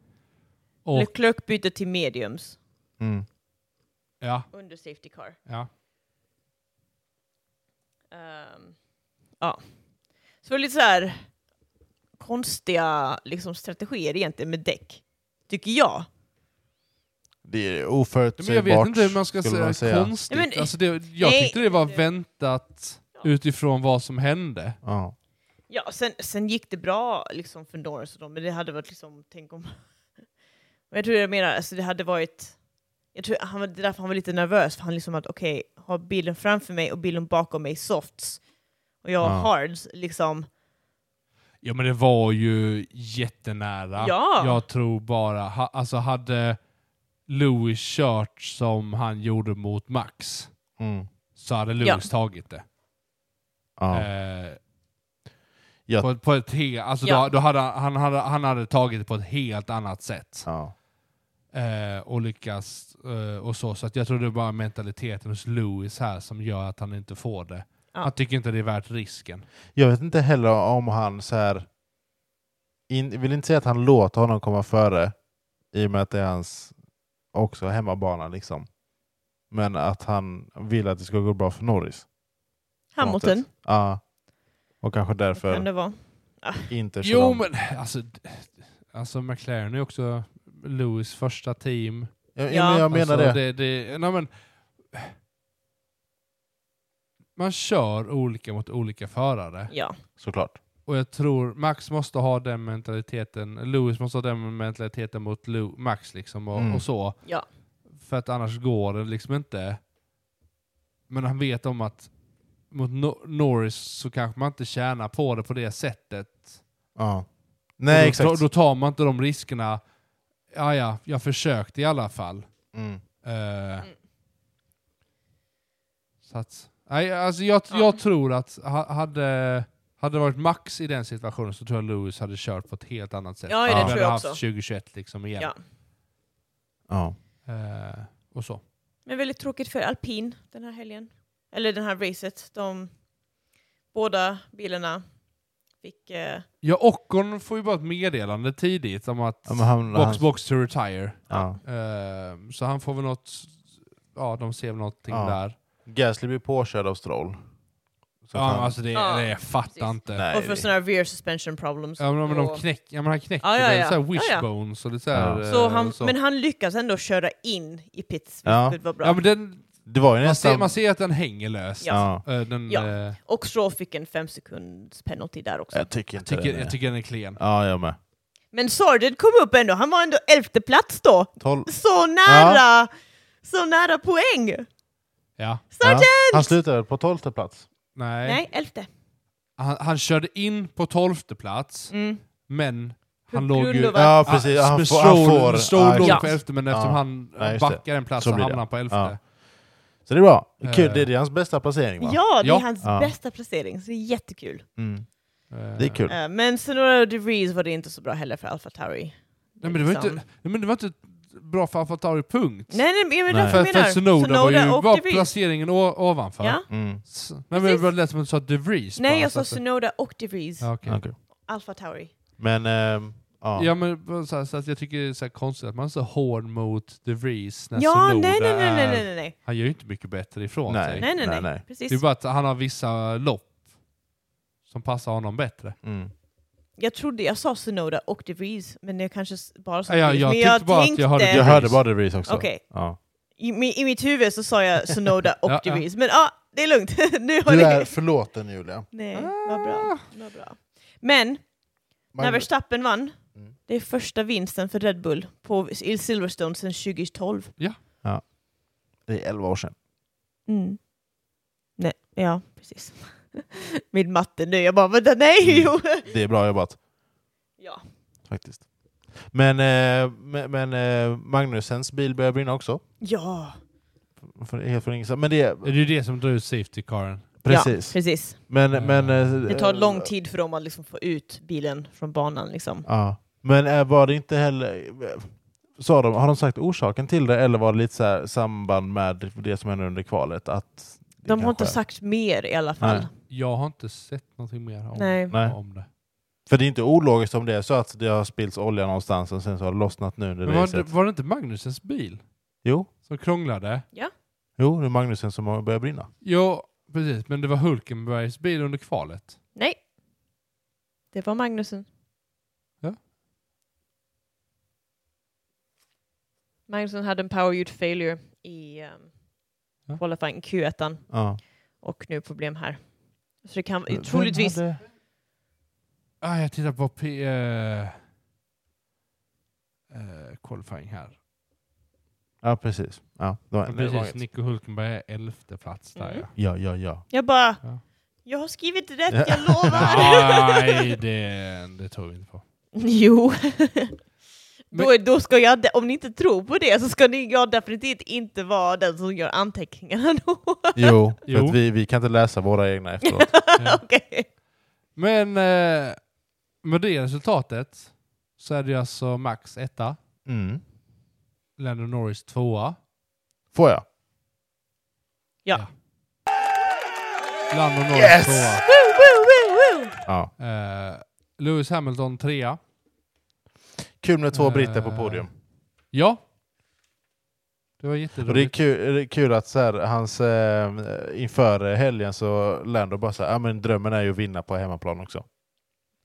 Och,
Leclerc byter till mediums.
Mm.
ja,
Under safety car.
ja.
Ehm, ja. Så det var lite så här konstiga liksom, strategier egentligen med däck. Tycker jag.
Det är
Ja, Men jag vet
oförutsägbart,
inte hur man ska
skulle
säga,
man säga.
konstigt.
Nej, men-
alltså det, jag
Nej.
tyckte det var väntat
Ja.
utifrån vad som hände.
Ja.
Ja, sen, sen gick det bra liksom, för Norris och dem, men det hade varit liksom, tänk om... Men jag tror jag menar, alltså, det hade varit... Jag tror han var, det är därför han var lite nervös, för han liksom att okej, har bilen framför mig och bilen bakom mig softs och jag har
Ja.
hards, liksom.
Ja men det var ju jättenära.
Ja.
Jag tror bara, ha, alltså hade Lewis kört som han gjorde mot Max
Mm.
så hade Lewis tagit det.
Ja.
Eh,
Ja.
På, på ett he- alltså
Ja.
då, då hade han, han, hade, han hade tagit det på ett helt annat sätt.
Ja.
Eh, och lyckats eh, och så. Så att jag tror det är bara mentaliteten hos Lewis här som gör att han inte får det.
Ja.
Han tycker inte det är värt risken.
Jag vet inte heller om han så här... In, vill inte säga att han låter honom komma före i och med att det är hans också hemmabana liksom. Men att han vill att det ska gå bra för Norris. på något
Hamilton,
sätt. Ja. Och kanske
vad kan
därför
det vara.
inte kör
Jo
om.
men alltså, d- alltså McLaren är också Lewis första team.
Ja,
Ja.
men jag menar
alltså,
det.
det, det nej, men, man kör olika mot olika förare.
Ja.
Såklart.
Och jag tror Max måste ha den mentaliteten, Lewis måste ha den mentaliteten mot Lew- Max liksom och,
Mm.
och så.
Ja.
För att annars går det liksom inte. Men han vet om att mot no- Norris så kanske man inte tjänar på det på det sättet.
Ja.
Och
Nej,
då,
exakt.
Då, då tar man inte de riskerna. Ja, ja, jag försökte i alla fall.
Mm.
Eh, Så att, nej, alltså jag,
Ja.
jag tror att ha- hade, hade det varit Max i den situationen så tror jag Lewis hade kört på ett helt annat sätt.
Ja,
det
Vi
tror
hade
jag
haft
också.
2021 liksom igen.
Ja.
Ja.
Eh, och så.
Men väldigt tråkigt för alpin den här helgen. Eller den här racet. De båda bilarna fick... Eh,
Ja, Ockon får ju bara ett meddelande tidigt om att
Ja, men han,
box,
han,
box to retire.
Ja.
Eh, så han får väl något, ja de ser väl någonting
Ja.
där.
Gasly blir påkörd av Stroll. Så
Ja,
att
men
han-
alltså det,
Ja,
det jag fattar
precis.
inte.
Nej,
och för
det-
sådana här rear suspension problems.
Ja men, men de
Och-
knäck, ja, men han knäcker
Ja, ja,
väl
ja.
såhär
Ja, ja.
wishbones och lite såhär...
Ja.
Så
eh,
han, Men han lyckas ändå köra in i pits,
Ja.
vilket var bra.
Ja, men den,
det var ju
man, ser,
nästan...
man ser att den hänger löst.
Ja.
ja.
Eh, Den,
Ja.
eh,
Och Stroll fick en fem sekunds penalty där också.
Jag tycker inte
tycker,
det.
jag tycker den är klen.
Ja, jag med.
Men Sargent kom upp ändå, han var ändå elfte plats då.
Tolv.
Så nära! Så nära poäng!
Ja.
Sargent!
Han slutade på tolfte plats.
Nej.
Nej, elfte.
Han, han körde in på tolfte plats,
Mm.
men han
På
låg
grund
ju... Ah,
av att-
Ja, precis. han
men
får, han
Stroll-
får.
Stroll
ja,
låg
exakt.
på elfte, men eftersom
Ja.
han
Ja, just det.
backar en plats
Så
så
blir det.
hamnade han på elfte.
Ja. Så det är bra. Kul.
Eh.
Det är hans bästa placering va?
Ja, det är
Ja.
hans
Ja.
bästa placering, så det är jättekul.
Mm.
Eh,
Det är kul.
Eh, Men Senora de Vries var det inte så bra heller för Alfa Tauri.
Nej, men det var
Liksom.
inte, nej, men det var inte bra för AlphaTauri, punkt.
Nej, nej, men jag
Nej.
menar
För,
därför jag
för
menar.
Sonoda var ju
Sonoda och
var
De Vries.
placeringen o- ovanför.
Ja.
Mm.
S- Nej, men det var lätt som att du sa De Vries. bara,
Nej, jag
så
sa
att-
Sonoda och De Vries.
Alltså. Ja, okej.
Okej.
Alfa Tauri.
Men, ehm, ja.
Ja, men bara så, här, så att jag tycker det är så här konstigt att man är så hård mot De Vries när
Ja,
Sonoda
nej, nej, nej, nej,
är...
nej, nej, nej,
Han gör ju inte mycket bättre ifrån
Nej.
sig.
nej, nej,
Nej,
nej,
nej.
precis.
Det är bara att han har vissa lopp som passar honom bättre.
Mm.
Jag trodde jag sa Sonoda och De Vries, men jag kanske s- bara sa
Ja,
De Vries.
jag
Men
tyckte bara att jag hörde-
Jag hörde bara det Breeze också.
Eh, Okej.
Ja.
I, mi- I mitt huvud så sa jag Sonoda och
Ja,
De
ja.
Vries, men ja, det är lugnt. nu har
Du
ni...
är förlåten Julia.
Nej,
Ah.
vad bra. Vad bra. Men när
Magnus.
Verstappen vann,
Mm.
det är första vinsten för Red Bull på i Silverstone sedan 2012.
Det är 11 år sedan.
Mm. Nej, ja, precis. Min matte nu, jag bara vänta,
Mm.
nej, jo.
Det är bra jobbat
Ja.
faktiskt. Men, eh, men, men eh, Magnusens bil börjar brinna också.
Ja,
För, helt från ingenstans. Men det är,
Det är ju det som drar ut safety caren.
precis.
Ja, precis.
Men,
Eh,
men, eh,
Mm. Det tar lång tid för dem att liksom få ut bilen från banan. Liksom.
Ja. Men eh, var det inte heller... Sa de, har de sagt orsaken till det eller var det lite så här samband med det som hände under kvalet? Att det
De har inte
kanske-
sagt mer i alla fall.
Nej.
Jag har inte sett någonting mer om,
Nej.
Nej.
om det.
För det är inte ologiskt om det är så att det har spillts olja någonstans och sen så har det lossnat nu under
Men var, det,
racet.
var det inte Magnusens bil
Jo,
som krånglade?
jo, det är Magnusen som har börjat brinna.
Jo, precis. Men det var Hulkenbergs bil under kvalet.
Nej. Det var Magnusen.
Ja.
Magnusen hade en power unit failure i um,
Ja.
qualifying Q1
Ja.
och nu problem här. Så det kan
Mm.
Vem
troligtvis...
hade-
Ah, jag tittar på P... eh, eh, qualifying här.
Ja, precis. Ja, det var, det
Ja,
var inget.
precis. Nico Hulkenberg är elfte plats där
Mm.
Ja,
ja.
ja, ja.
Jag bara...
Ja.
Jag har skrivit
Ja.
rätt, jag lovar!
Nej, det, det tror vi inte på.
jo.
Men-
Då, är- då ska jag, om ni inte tror på det så ska ni, jag definitivt inte vara den som gör anteckningarna då.
Jo, för
Jo.
att vi, vi kan inte läsa våra egna efteråt.
Ja.
Okej.
Men eh, med det resultatet så är det alltså Max etta,
Mm.
Lando Norris tvåa,
Får jag?
Ja.
Lando Norris
Yes!
tvåa,
Woo, woo, woo, woo.
Ja.
eh, Lewis Hamilton trea.
Kul med två
Eh,
britter på podium.
Ja. Det var
Och det är
jätteroligt.
kul, det är kul att så här, hans, eh, inför helgen så Lando bara så här, ah, men drömmen är ju att vinna på hemmaplan också.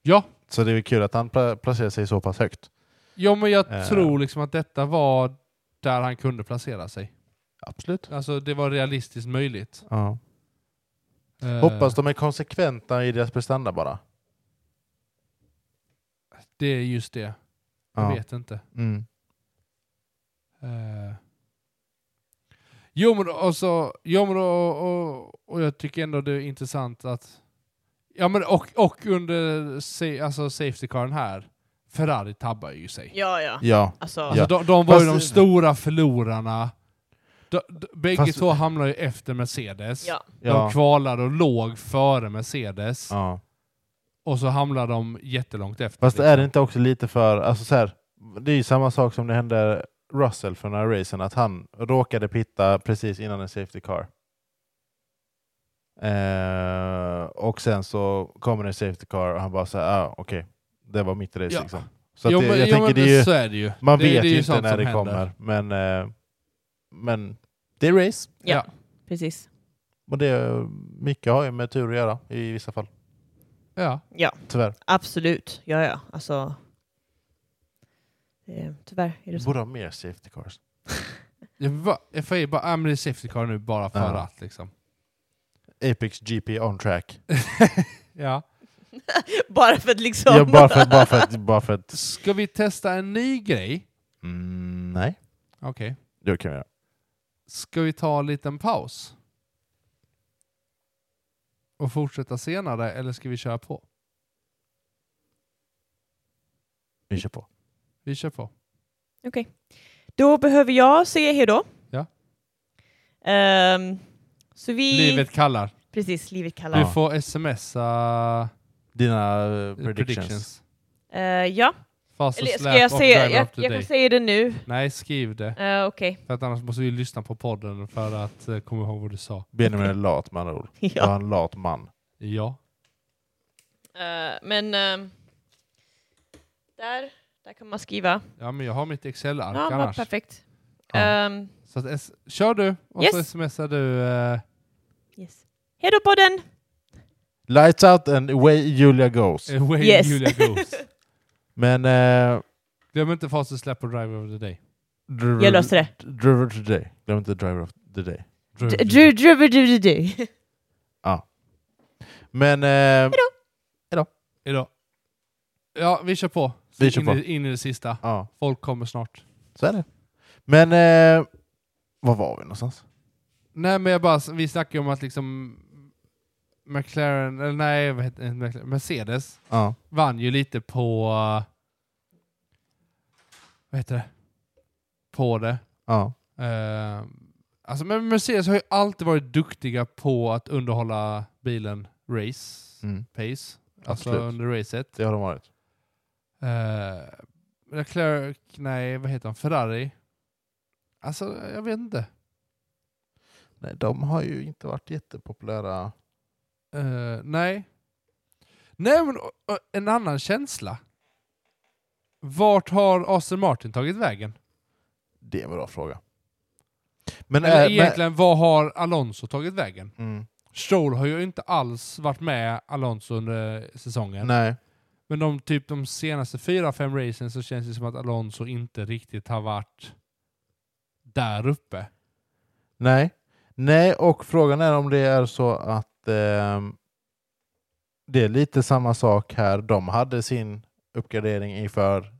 Ja.
Så det är kul att han pla- placerar sig så pass högt.
ja, men jag
Eh.
tror liksom att detta var där han kunde placera sig.
Absolut.
Alltså det var realistiskt möjligt.
Ja.
Eh,
Hoppas de är konsekventa i deras prestanda bara.
Eh, Det är just det. Jag
Ja.
vet inte.
Mm.
Eh. Jo men och så, jo, men och, och, och jag tycker ändå det är intressant att... Ja men och, och under sa- alltså safety caren här, Ferrari tabbar ju sig.
Ja, ja.
Ja.
Alltså,
Alltså,
Ja.
de, de var ju
Fast-
de stora förlorarna. De, de, bägge
Fast-
två hamnade ju efter Mercedes.
ja.
Ja.
De kvalade och låg före Mercedes.
ja.
Och så hamnade de jättelångt efter.
Fast
liksom.
är det inte också lite för... Alltså så här, det är ju samma sak som det hände Russell för några racen, att han råkade pitta precis innan en safety car. Eh, och sen så kommer en safety car och han bara så här, ah, okej, det var mitt race
Ja.
liksom. Så att
jo,
det,
men,
jag
jo,
tänker
men
det är ju,
så är det ju.
man
det,
vet
det
ju
är
inte
sånt
när
som
det
händer.
kommer, men, eh, men det är race.
Ja.
Ja.
precis.
Och det, mycket har ju med tur att göra i vissa fall,
Ja.
tyvärr.
Absolut. Ja, ja. Alltså... Eh, Tyvärr är det så.
Borde ha mer safety cars.
Jag va- FAI bara, äh, men det är safety car nu bara för
Ja.
att liksom.
Apex GP on track.
Ja.
Bara för att liksom...
Ja, bara för, bara för att... Bara för att
Ska vi testa en ny grej?
mm, nej,
Okej.
det kan vi göra.
Ska vi ta en liten paus? Och fortsätta senare, eller ska vi köra på?
Vi kör på.
Vi kör på.
Då behöver jag säga hejdå.
Ja.
Ehm, så vi...
Livet kallar.
Precis, livet kallar.
Du
Ja.
får smsa
Dina eh, predictions. predictions.
predictions.
Eh, ja,
Fast
eller ska jag säga... Jag, jag kan säga det nu.
Nej, skriv det.
Eh, Okej.
För att annars måste vi lyssna på podden för att eh, komma ihåg vad du sa.
Benjamin är lat med andra ord.
Ja.
Jag är en lat man.
Ja.
Eh, men... ehm, där, där kan man skriva.
Ja, men jag har mitt Excel-ark
Ja, vad
annars.
perfekt.
Ja.
Ehm,
Så att s- kör du och så
Yes.
smsar du. eh,
yes. Hej då podden!
Lights out and away Julia goes.
away
Yes.
eh, Julia goes.
Men... Eh,
Glöm inte Fast Slap och Driver of the Day.
driver,
Jag löste det.
Driver of the day. Glöm inte driver of the day.
Driver
Du,
of the Day.
du, du, du, du.
Men... Eh,
Idag. Ja, vi kör på. Så
Vi kör
in,
på.
I, in i det sista.
ja,
Folk kommer snart.
så är det. Men... Eh, var var vi någonstans?
Nej, men jag bara, vi snackade ju om att liksom McLaren, eller nej, vad heter, inte McLaren, Mercedes
Ja.
vann ju lite på... eh, Vad heter det? På det.
ja.
Eh, alltså, men Mercedes har ju alltid varit duktiga på att underhålla bilen race
Mm.
pace. Alltså
Absolut.
under racet.
Det har de varit.
Eh, Leclerc, nej vad heter han, Ferrari? Alltså jag vet inte.
Nej, de har ju inte varit jättepopulära.
Eh, nej. Nej men och- och en annan känsla. Vart har Aston Martin tagit vägen?
Det är en bra fråga. Men...
Eller
eh, men
egentligen, vad har Alonso tagit vägen?
mm,
Stroll har ju inte alls varit med Alonso under säsongen.
Mm, nej.
Men de, typ, de senaste fyra, fem racen så känns det som att Alonso inte riktigt har varit där uppe.
Nej. Nej, och frågan är om det är så att ehm, det är lite samma sak här. De hade sin uppgradering inför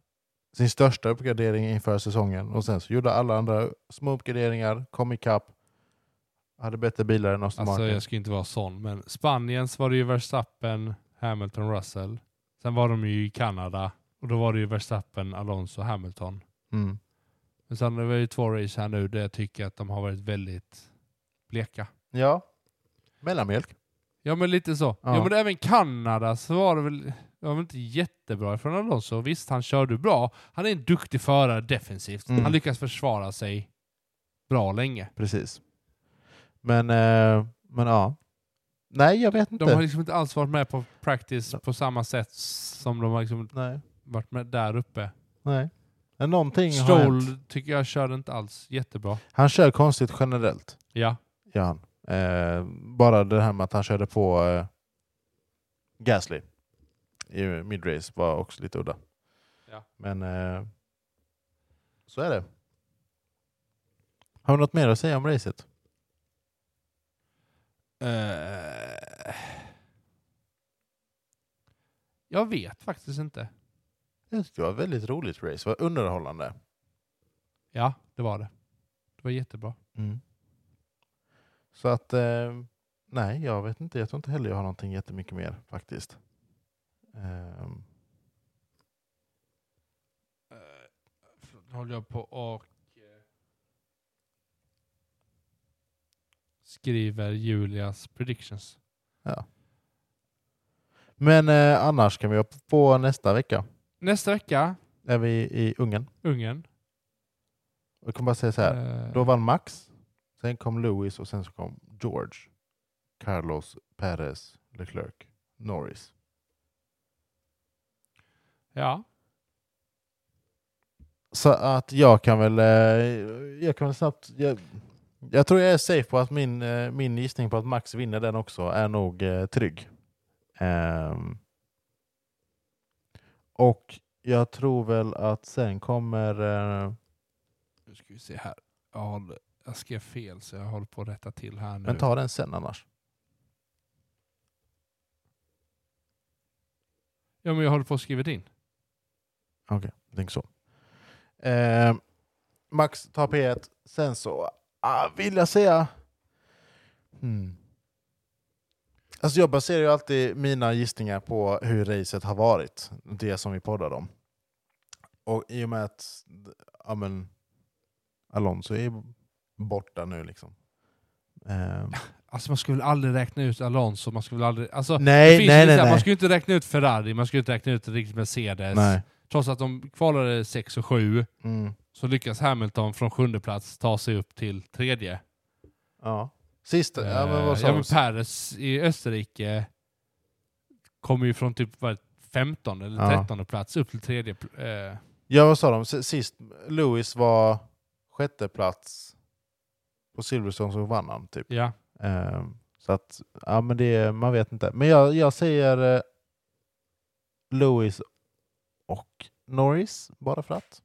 sin största uppgradering inför säsongen och sen så gjorde alla andra små uppgraderingar, kom ikapp, hade bättre bilar än Aston
Alltså
Martin.
jag ska inte vara sån, men Spaniens var det ju Verstappen, Hamilton, Russell. Sen var de ju i Kanada och då var det ju Verstappen, Alonso, Hamilton.
Mm.
Men sen var det ju två race här nu där jag tycker att de har varit väldigt bleka.
Ja, mellanmjölk.
Ja men lite så.
Ja.
Ja, men även Kanada så var det väl, det var väl inte jättebra från Alonso. Visst, han körde bra. Han är en duktig förare defensivt.
Mm.
Han lyckas försvara sig bra länge.
Precis. Men, eh, men ja. Nej, jag vet inte.
De har liksom inte alls varit med på practice på samma sätt som de har liksom
Nej,
varit med där uppe.
nej. Men någonting har hänt.
Stroll tycker jag körde inte alls jättebra.
Han kör konstigt generellt.
Ja.
gör han. Eh, bara det här med att han körde på eh, Gasly i midrace var också lite udda.
Ja.
Men eh, så är det. Har du något mer att säga om racet?
Eh, Jag vet faktiskt inte.
Jag tyckte det var ett väldigt roligt race, det var underhållande.
Ja, det var det. Det var jättebra.
Mm. Så att, eh, nej jag vet inte, jag tror inte heller jag har någonting jättemycket mer faktiskt. Ehm,
Eh, Nu håller jag på och eh, skriver Julias predictions.
men eh, annars kan vi hoppa på nästa vecka.
Nästa vecka,
Är vi i Ungern.
Ungern.
Jag kommer bara säga så här.
Eh,
Då vann Max, sen kom Lewis och sen så kom George, Carlos, Perez, Leclerc, Norris.
Ja,
Så att jag kan väl, eh, jag kan väl snabbt... Jag, jag tror jag är safe på att min, eh, min gissning på att Max vinner den också är nog eh, trygg. Ehm. och jag tror väl att sen kommer... Eh,
nu ska vi se här. Jag, håller, jag skrev fel så jag håller på att rätta till här nu.
men ta den sen annars.
Ja, men jag håller på att skriva in.
Tänk så. Eh, Max tar P1. Sen så ah, vill jag säga... Hmm. Alltså jag baserar ju alltid mina gissningar på hur racet har varit. Det som vi poddade om. Och i och med att ja, men, Alonso är borta nu liksom. Eh,
Alltså man skulle aldrig räkna ut Alonso, man skulle aldrig... Alltså, det
nej,
finns
nej,
vissa-
nej,
Man
nej.
skulle inte räkna ut Ferrari, man skulle inte räkna ut riktigt Mercedes.
nej.
Trots att de kvalade 6 och 7
Mm.
så lyckas Hamilton från sjunde plats ta sig upp till tredje.
Ja. Sista, ja
Eh,
men vad sa
ja,
du?
men Perez i Österrike kommer ju från typ vad, 15 eller
Ja.
13 plats upp till tredje. pl- Eh,
Ja, vad sa de? S- Sist, Lewis var sjätte plats på Silverstone så vann han typ.
ja.
Ehm, så att, ja men det, man vet inte. Men jag, jag säger eh, Lewis och Norris, bara för att.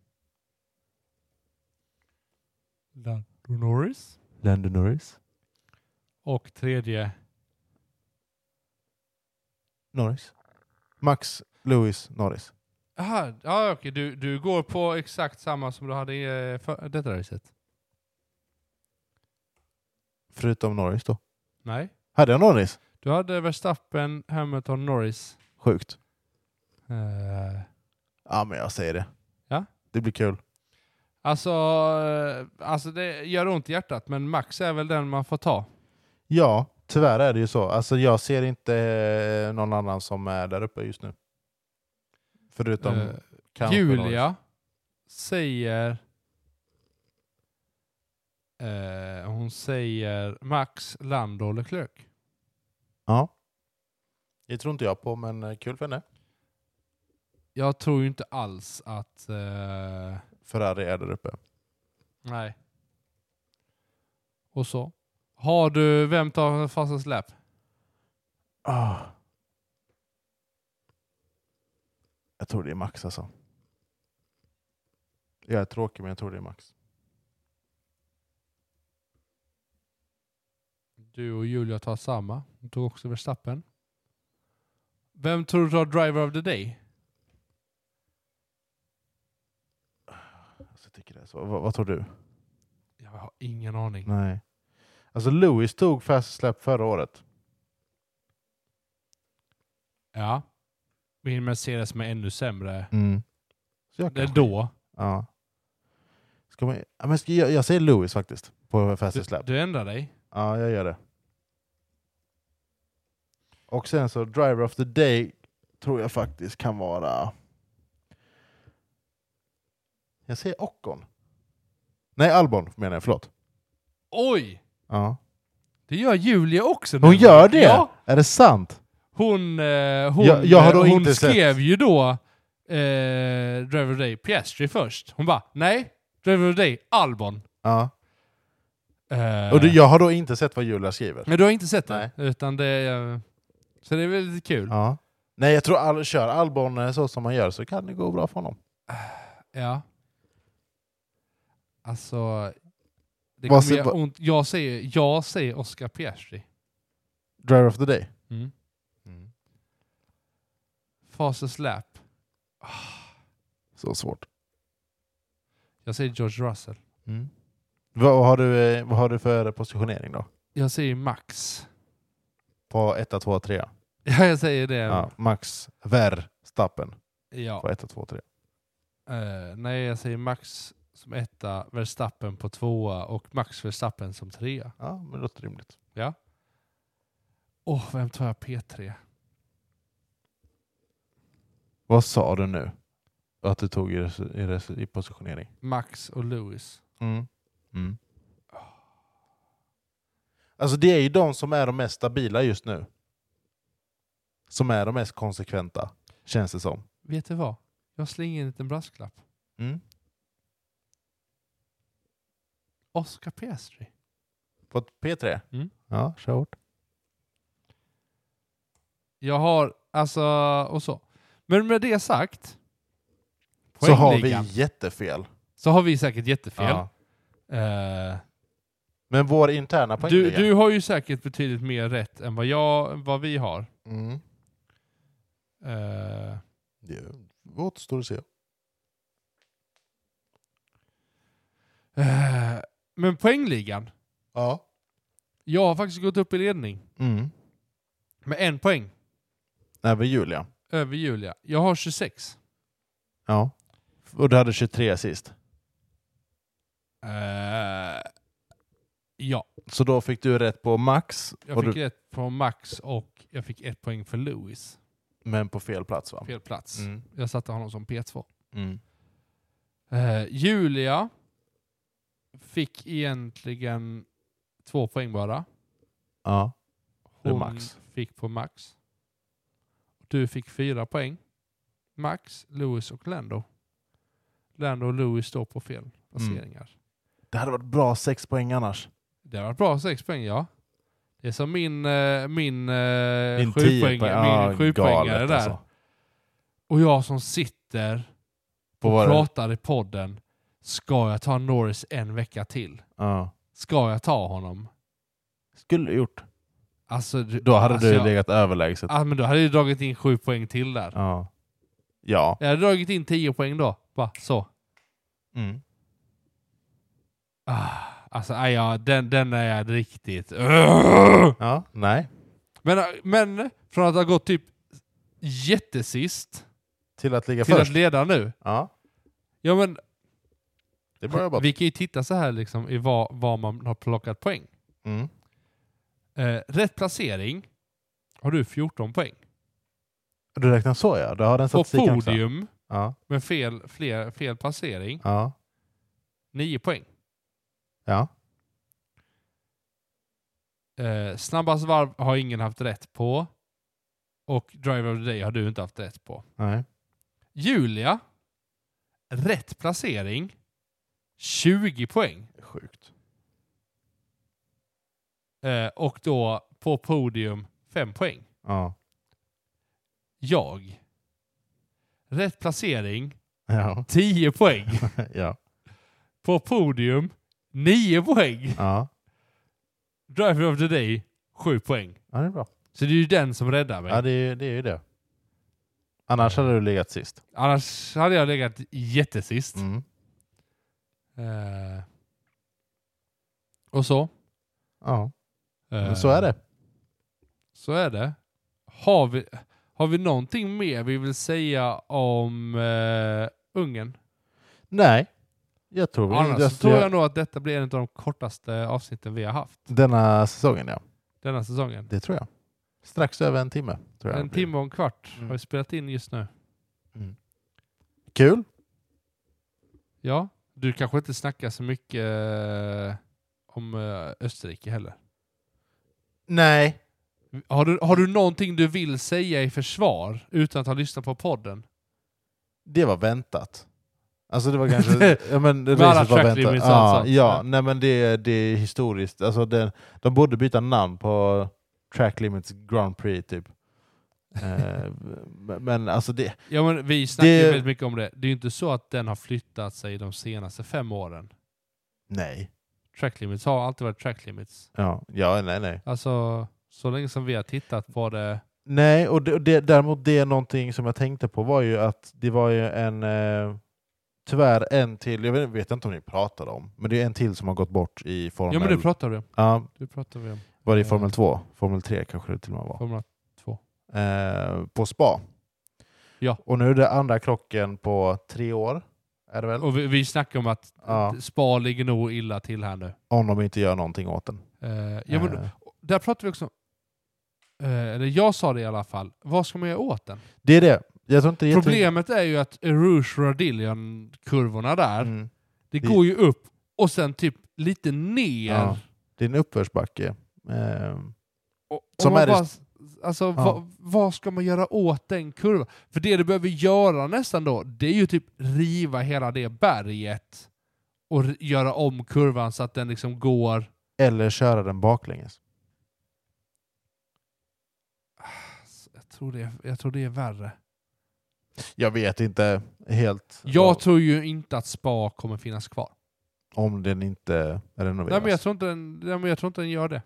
Lando Norris.
Lando Norris?
Och tredje.
Norris. Max, Lewis, Norris.
Aha, ja, okej. Du, du går på exakt samma som du hade i eh, för, detta racet?
Förutom Norris då.
Nej.
Hade jag Norris?
Du hade Verstappen, Hamilton, Norris.
Sjukt.
Eh,
Ja men jag säger det.
Ja.
Det blir kul.
alltså, eh, alltså, det gör ont i hjärtat, men Max är väl den man får ta.
Ja, tyvärr är det ju så. Alltså, jag ser inte eh, någon annan som är där uppe just nu. Förutom
Eh,
kanske Norris.
Julia säger... Eh, hon säger Max, Lando och Leclerc.
Ja. Det tror inte jag på, men eh, kul för henne.
Jag tror ju inte alls att... Eh,
Ferrari är där uppe.
nej. Och så. Har du... Vem tar fasta släp?
Ah. Jag tror det är Max alltså. Jag är tråkig, men jag tror det är Max.
Du och Julia tar samma. Hon tog också Verstappen. Vem tror du tar Driver of the Day?
Alltså, jag tycker det är så. Vad- vad tror du?
Jag har ingen aning.
Nej. Alltså, Lewis tog Fast Slap förra året.
Ja. Min Mercedes med ännu sämre.
Så jag
Mm. Det är
kanske-
då.
Ja. Ska man, ja, men ska, jag, jag säger Lewis faktiskt på
Du,
Fastest Lap.
du ändrar dig.
Ja, jag gör det. Och sen så Driver of the Day tror jag faktiskt kan vara... Jag säger Ockon. Nej, Albon menar jag. Förlåt.
Oj!
Ja.
Det gör Julia också nu.
Hon gör det!
Ja.
Är det sant?
Hon, eh, hon,
Jag- jag har då
eh, hon
inte sett.
skrev ju då eh, Driver of the Day Piastri först. Hon bara nej, Driver of the Day Albon.
Ja.
Eh,
Och du, jag har då inte sett vad Julia skriver.
Men du har inte sett den?
Nej.
Utan det, är, eh, så det är väl lite kul.
Ja. Nej, jag tror all, kör Albon eh, så som man gör så kan det gå bra för honom.
Ja. Alltså... Det
Vad
kommer
ser-
göra
vad-
ont. Jag säger, jag säger Oscar Piastri.
Driver of the Day.
Mm. Fastest lap.
Så svårt.
Jag säger George Russell.
Mm. Vad, vad, har du, eh, vad har du för positionering då?
Jag säger Max.
På 1, 2, 3?
Ja, jag säger det.
Ja, Max Verstappen
Eh. Ja.
på 1, 2, 3.
Eh, nej, jag säger Max som etta, Verstappen på tvåa och Max Verstappen som trea.
Ja, men det låter rimligt.
Åh, vem tar jag P3?
Vad sa du nu? Att du tog i, res- i, res- i positionering?
Max och Lewis.
Mm. Alltså det är ju de som är de mest stabila just nu. Som är de mest konsekventa, känns det som. Mm.
Vet du vad? Jag slänger in en liten brasklapp. Oscar Piastri.
På ett P3?
Mm.
Ja, kör hårt.
Jag har, alltså, och så. Men med det sagt,
Så har vi
poängligan,
jättefel.
så har vi säkert jättefel.
Ja.
Eh,
Men vår interna
du,
poängliga.
du har ju säkert betydligt mer rätt än vad, jag, vad vi har.
Mm.
Eh,
Det återstår att se.
Eh, Men poängligan.
Ja.
Jag har faktiskt gått upp i ledning
Mm.
med en poäng
Även Julia.
över Julia. Jag har 26.
Ja. Och du hade 23 sist.
Eh, ja,
Så då fick du rätt på max,
jag
och
fick
du,
ett på Max och jag fick ett poäng för Lewis.
men på fel plats va?
Fel plats.
Mm.
Jag satte honom som P2.
Mm.
Eh, Julia fick egentligen två poäng bara.
Ja. Det är
Hon
max.
fick på max. Du fick fyra poäng. Max, Lewis och Lando. Lando och Lewis står på fel
Mm.
placeringar.
Det hade varit bra sex poäng annars.
Det var bra sex poäng, ja. Det är som min, eh, min, eh,
Din
sjupoäng-
10 poäng.
min sjupoängare där.
alltså.
Och jag som sitter
På
och
vad det-
pratar i podden. Ska jag ta Norris en vecka till?
Ja.
Ska jag ta honom?
Skulle gjort.
Alltså, du-
Då hade
alltså,
du
jag- Ah.
legat överlägset.
Ja, men då hade jag dragit in sju poäng till där.
Ja. Ja.
Jag hade dragit in tio poäng då. Bara så.
Mm.
Ah, alltså, aj, ja, den, den är jag riktigt...
Ja. Nej.
Men, men från att ha gått typ jättesist
Till att ligga
till
först.
att leda nu.
ja.
Ja, men,
Det är bra jobbat.
vi kan ju titta så här liksom i vad, vad man har plockat poäng.
Mm.
Eh, rätt placering har du 14 poäng.
Du räknar så ja. Du har den
På
statistiken också.
podium
Ja.
med fel, fler, fel placering,
Ja.
9 poäng.
Ja.
Eh, snabbast varv har ingen haft rätt på. Och Driver of the Day har du inte haft rätt på.
Nej.
Julia, rätt placering, 20 poäng.
Sjukt.
Eh, och då på podium, 5 poäng.
Ja.
Jag, rätt placering,
Ja.
10 poäng.
ja.
På podium, 9 poäng.
Ja.
Driver of the Day, 7 poäng.
Ja, det är bra.
Så det är ju den som räddar mig.
Ja, det är, ju- det är ju det. Annars hade du legat sist.
Annars hade jag legat jättesist.
Mm.
Eh, och så.
Ja,
Eh,
men så är det.
Så är det. Har vi, har vi någonting mer vi vill säga om eh, Ungern?
Nej, jag tror vi
Annars
jag
så tror jag nog att detta blir en av de kortaste avsnitten vi har haft
denna säsongen, ja.
denna säsongen.
Det tror jag. Strax över en timme. Tror jag
En
det blir.
timme och en kvart
Mm.
har vi spelat in just nu.
Kul.
Ja, du kanske inte snackar så mycket eh, om eh, Österrike heller.
Nej.
Har du, har du någonting du vill säga i försvar utan att ha lyssnat på podden?
Det var väntat. Alltså det var kanske... ja, men det
Med alla
racet var
track
väntat.
limits
Ja,
alltså.
ja,
Ja.
nej men det, det är historiskt. Alltså det, de borde byta namn på Track Limits Grand Prix typ. Eh, men alltså det...
Ja, men vi snackar ju
Det-
väldigt mycket om det. Det är ju inte så att den har flyttat sig de senaste fem åren.
Nej.
Track limits har alltid varit track limits.
Ja, ja nej nej.
Alltså, så länge som vi har tittat på det.
Nej, och det, och det, däremot det är någonting som jag tänkte på var ju att det var ju en, eh, tyvärr en till, jag vet, vet inte om ni pratade om, men det är en till som har gått bort i Formel,
Ja, men det pratar vi om.
Ja,
Det pratar vi om.
var det i
Ja.
Formel 2? Formel 3 kanske det till och med var.
Formula.
Eh, på spa.
Ja.
Och nu är det andra krocken på tre år, är det väl?
Och vi, vi snackar om att
Ja.
Spa ligger nog illa till här nu.
Om de inte gör någonting åt den.
Eh, ja, men,
Eh,
Där pratar vi också om, eh, eller jag sa det i alla fall, vad ska man göra åt den?
det är det. Jag tror inte det är jätte-
Problemet är ju att Rouge Radillion-kurvorna där,
Mm.
det
Det-
går ju upp och sen typ lite ner.
Ja. Det är en uppförsbacke. Eh,
Och, och
Som
man
är det-
bara, alltså, vad, vad ska man göra åt den kurvan? För det du behöver göra nästan då, det är ju typ riva hela det berget och r- göra om kurvan så att den liksom går...
eller köra den baklänges.
Jag tror det, jag tror det är värre.
Jag vet inte helt.
Jag tror ju inte att spa kommer finnas kvar.
Om den inte renoveras.
Nej men, jag tror inte den, nej men jag tror inte den gör det.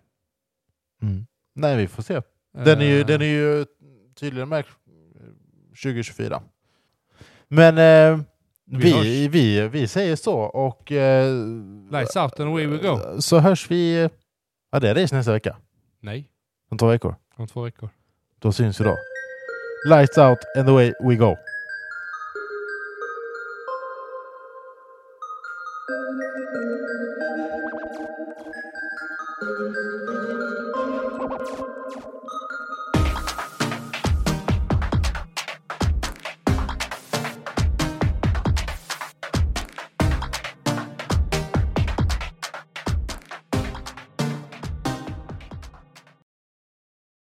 mm. Nej, vi får se. Den är ju,
Eh,
den är ju tydligen märkt 2024. Men eh,
Vi
vi,
hörs.
vi, vi säger så och eh,
Lights out and away we go.
så hörs vi... Ja, det är race nästa vecka.
Nej,
Om två veckor.
om två veckor.
Då syns vi då. Lights out and away we go.